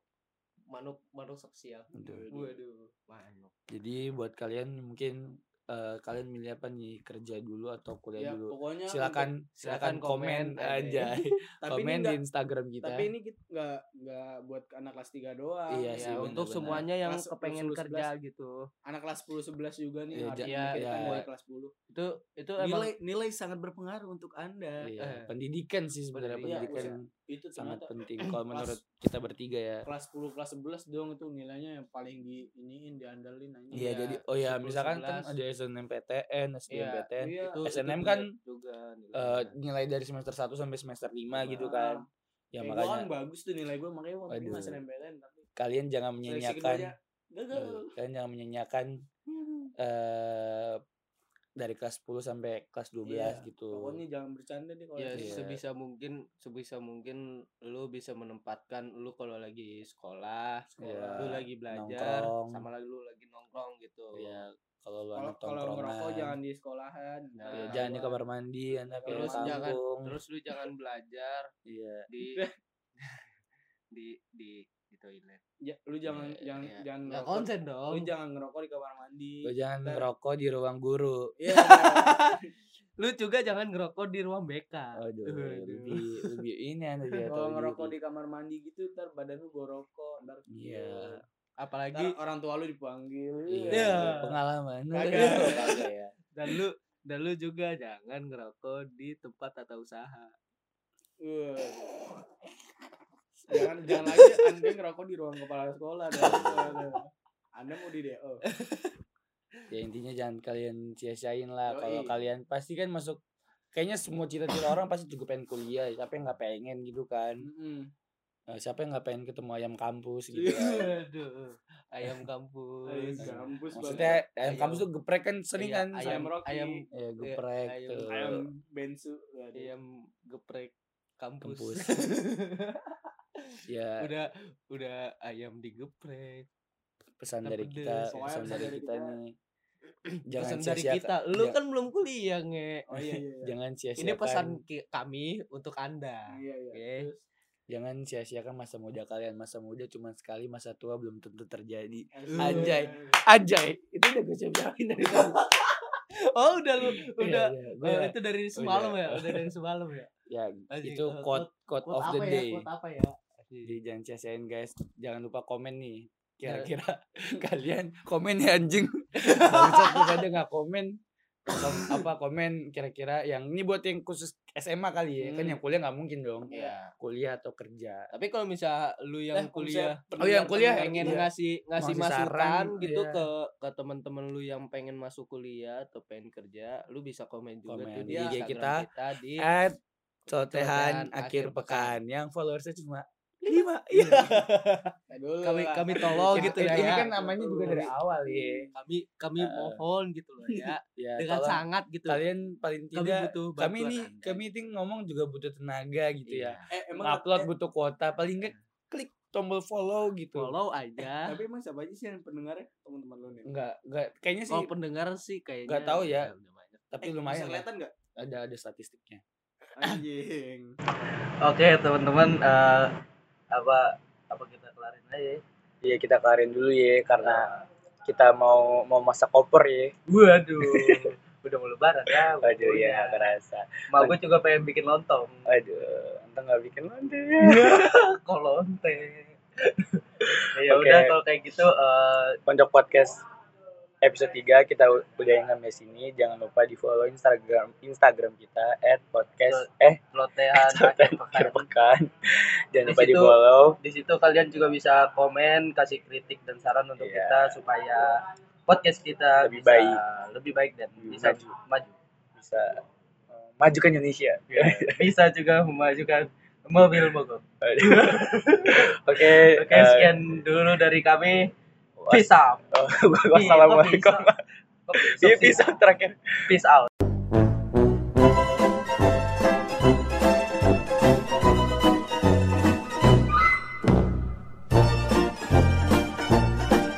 manuk manuk sosial
Aduh.
waduh manuk
Jadi buat kalian mungkin eh, kalian milih apa nih kerja dulu atau kuliah
ya
dulu?
pokoknya untuk-
Silakan Iya, silakan
silakan
komen
komen
aja, ya. <laughs>
tapi ini
komen di
enggak
Instagram kita.
tapi ini kita enggak enggak buat anak kelas 3 doang
Iya sih,
ya untuk
benar-benar.
semuanya yang
Masuk
kepengen
10-11.
kerja gitu
anak kelas 10 11 juga nih
Iya,
harus
ja-
memikirkan
iya.
dari kelas 10
itu itu emang
nilai nilai sangat berpengaruh untuk anda
Iya,
eh,
pendidikan sih sebenarnya
pendidikan. Iya,
pendidikan
itu
sangat
ternyata
<clears throat> penting kalau
pas-
menurut kita bertiga ya.
kelas 10 kelas 11 dong itu nilainya yang paling di iniin diandalin aja
Iya
Iya,
jadi oh ya
10,
misalkan kan
11.
ada SNMPTN, SBMPTN.
iya.
itu
SNM
itu
kan,
dilihat juga
eh,
nilainya.
nilai dari semester 1 sampai semester 5 gitu
Ah.
kan. Ya
Eh, gua
makanya Iya.
kan bagus tuh nilai gue makanya waktu
Waduh.
itu SNMPTN tapi
kalian jangan
seleksi
menyanyiakan
keduanya gagal
eh, kalian jangan <laughs> menyanyiakan eh dari kelas 10 sampai kelas 12
Iya,
gitu.
pokoknya jangan bercanda deh kalau
ya
SNMPTN.
Iya.
sebisa mungkin sebisa mungkin lu bisa menempatkan lu kalau lagi sekolah,
Sekolah,
lu lagi belajar
nongkrong.
sama lagi lu lagi nongkrong gitu
Iya, kalau lu
kalau
anak
kalau ngerokok
tongkrongan.
jangan di sekolahan
Nah,
Iya,
Ntar
jangan di
ketahuan.
kamar mandi, anak ya
terus
kan?
jangan
kampung.
terus lu jangan belajar
Iya.
<laughs> di di di di toilet
Ja- lu jangan
Iya,
jangan
iya.
jangan
ya
ngerokok
konsen dong
lu jangan ngerokok di kamar mandi
Lu jangan
Ntar-
ngerokok di ruang guru.
Iya.
lu juga jangan ngerokok di ruang BK
Aduh,
Aduh.
lebih lebih ini anda tidak
kalau
Iya, tahu
ngerokok
diri.
di kamar mandi gitu ntar badan lu gorokok ntar
Iya.
Ntar
apalagi
orang tua lu dipanggil
Iya.
Iya.
Pengalaman. <laughs>
Kagak.
Kagak ya.
dan lu dan lu juga jangan ngerokok di tempat tata usaha
Wah. jangan jangan lagi anda ngerokok di ruang kepala sekolah dong.
<laughs>
anda mau di DO
Ya intinya jangan kalian sia-siain lah.
Yoi.
Kalau kalian pasti kan masuk kayaknya semua cita-cita orang pasti juga pengen kuliah, siapa yang nggak pengen gitu kan.
Mm-mm.
Eh, Siapa yang nggak pengen ketemu ayam kampus gitu
<laughs>
kan.
aduh
<laughs>
ayam
Ayo,
kampus
kampus
Maksudnya
banget.
ayam
Ayam.
kampus tuh geprek kan sering kan.
Iya,
ayam
ayam
Rocky. Iya,
ayam
Ya, geprek
ayam-
tuh.
ayam bensu Waduh.
ayam geprek kampus,
Kampus. ya
<laughs>
<laughs>
udah udah ayam digeprek
pesan
udah
dari
pedes.
kita,
Pokoknya
pesan dari kita
<clears throat>
nih. Jangan
pesan dari
sia-siakan. Iya.
kita lu
ja-
kan belum kuliah nge
oh iya iya iya.
Jangan sia-siakan.
ini pesan ki- kami untuk anda
iya iya
oke
Jangan sia-siakan masa muda kalian. Masa muda cuma sekali, masa tua belum tentu terjadi.
Terus-
Anjay. Anjay, itu udah gue siap-siapin dari <laughs> tadi.
oh udah lu
Iya,
udah
iya,
oh,
gua-
itu dari semalam ya udah dari semalam ya
ya,
Anjing,
itu
eh,
quote quote
quote
of the
apa ya
day.
quote apa ya
Jadi jangan sia-siain guys. Jangan lupa komen nih.
Iya.
Kira-kira kalian <laughs> komen ya
<laughs>
anjing. Bangsat lu pada nggak komen. Kom- apa komen kira-kira yang ini buat yang khusus SMA kali ya kan
Hmm.
yang kuliah nggak mungkin dong
Iya.
kuliah atau kerja
tapi kalau misal lu yang kuliah
oh yang kuliah
pengen
iya.
ngasih ngasih
Ngasih saran,
masukan gitu
iya.
ke ke teman-teman lu yang pengen masuk kuliah atau pengen kerja, lu bisa komen juga
Komen
tuh
di IG kita. Eh,
Instagram kita di
at cotehan
Cotehan
akhir
Iya. Akhir
pekan yang followersnya cuma <laughs> lima iya
Nah, dulu
kami
lah.
kami tolong
Ya,
gitu
ini
ya.
kan namanya juga dari awal ya
Kami kami
Eh.
mohon gitu loh
<laughs>
ya
ya
dengan
tolong
sangat gitu.
kalian paling
kami
tidak
butuh
kami
bantuan
ini
Anda.
kami ini ngomong juga butuh tenaga gitu
Iya.
ya
eh, emang
upload
eh,
butuh kuota paling enggak klik tombol follow gitu
Follow aja.
tapi emang siapa aja sih yang pendengarnya teman-teman lu nih
enggak enggak kayaknya sih
Kalau pendengar sih kayaknya
Nggak tahu ya.
udah- udah banyak.
tapi
Eh,
lumayan
bisa
lah.
kelihatan nggak
ada ada statistiknya
anjing
Oke teman-teman eh, apa apa kita kelarin aja? Iya kita kelarin dulu ya karena kita mau mau masak koper ya. Waduh. Udah mau lebaran ya. Waduh ya
iya.
kerasa. Mau gue juga pengen bikin lontong. Aduh, entah nggak bikin lontong.
<laughs>
Kolonteng. ya udah kalau kayak gitu eh Pondok Podcast
Eh, episode 3 kita u- udah yang sampai sini. Jangan lupa di follow Instagram Instagram kita at podcast eh <laughs>
Lotehan akhir pekan.
akhir pekan.
<laughs>
Jangan
Di
lupa di
situ-
follow.
Di situ kalian juga bisa komen, kasih kritik dan saran untuk
Iya.
kita supaya podcast kita
Lebih
bisa
baik.
lebih baik dan
Lebih
bisa
maju.
ju- <laughs> maju.
Bisa eh, majukan Indonesia.
Iya. bisa juga memajukan mobil mogok.
<laughs> Oke.
Oke,
eh, Oh,
sekian dulu dari kami. Peace out.
<laughs> Wassalamualaikum.
Kok bisa? Kok
Iya
bisa?
bisa terakhir.
Peace out.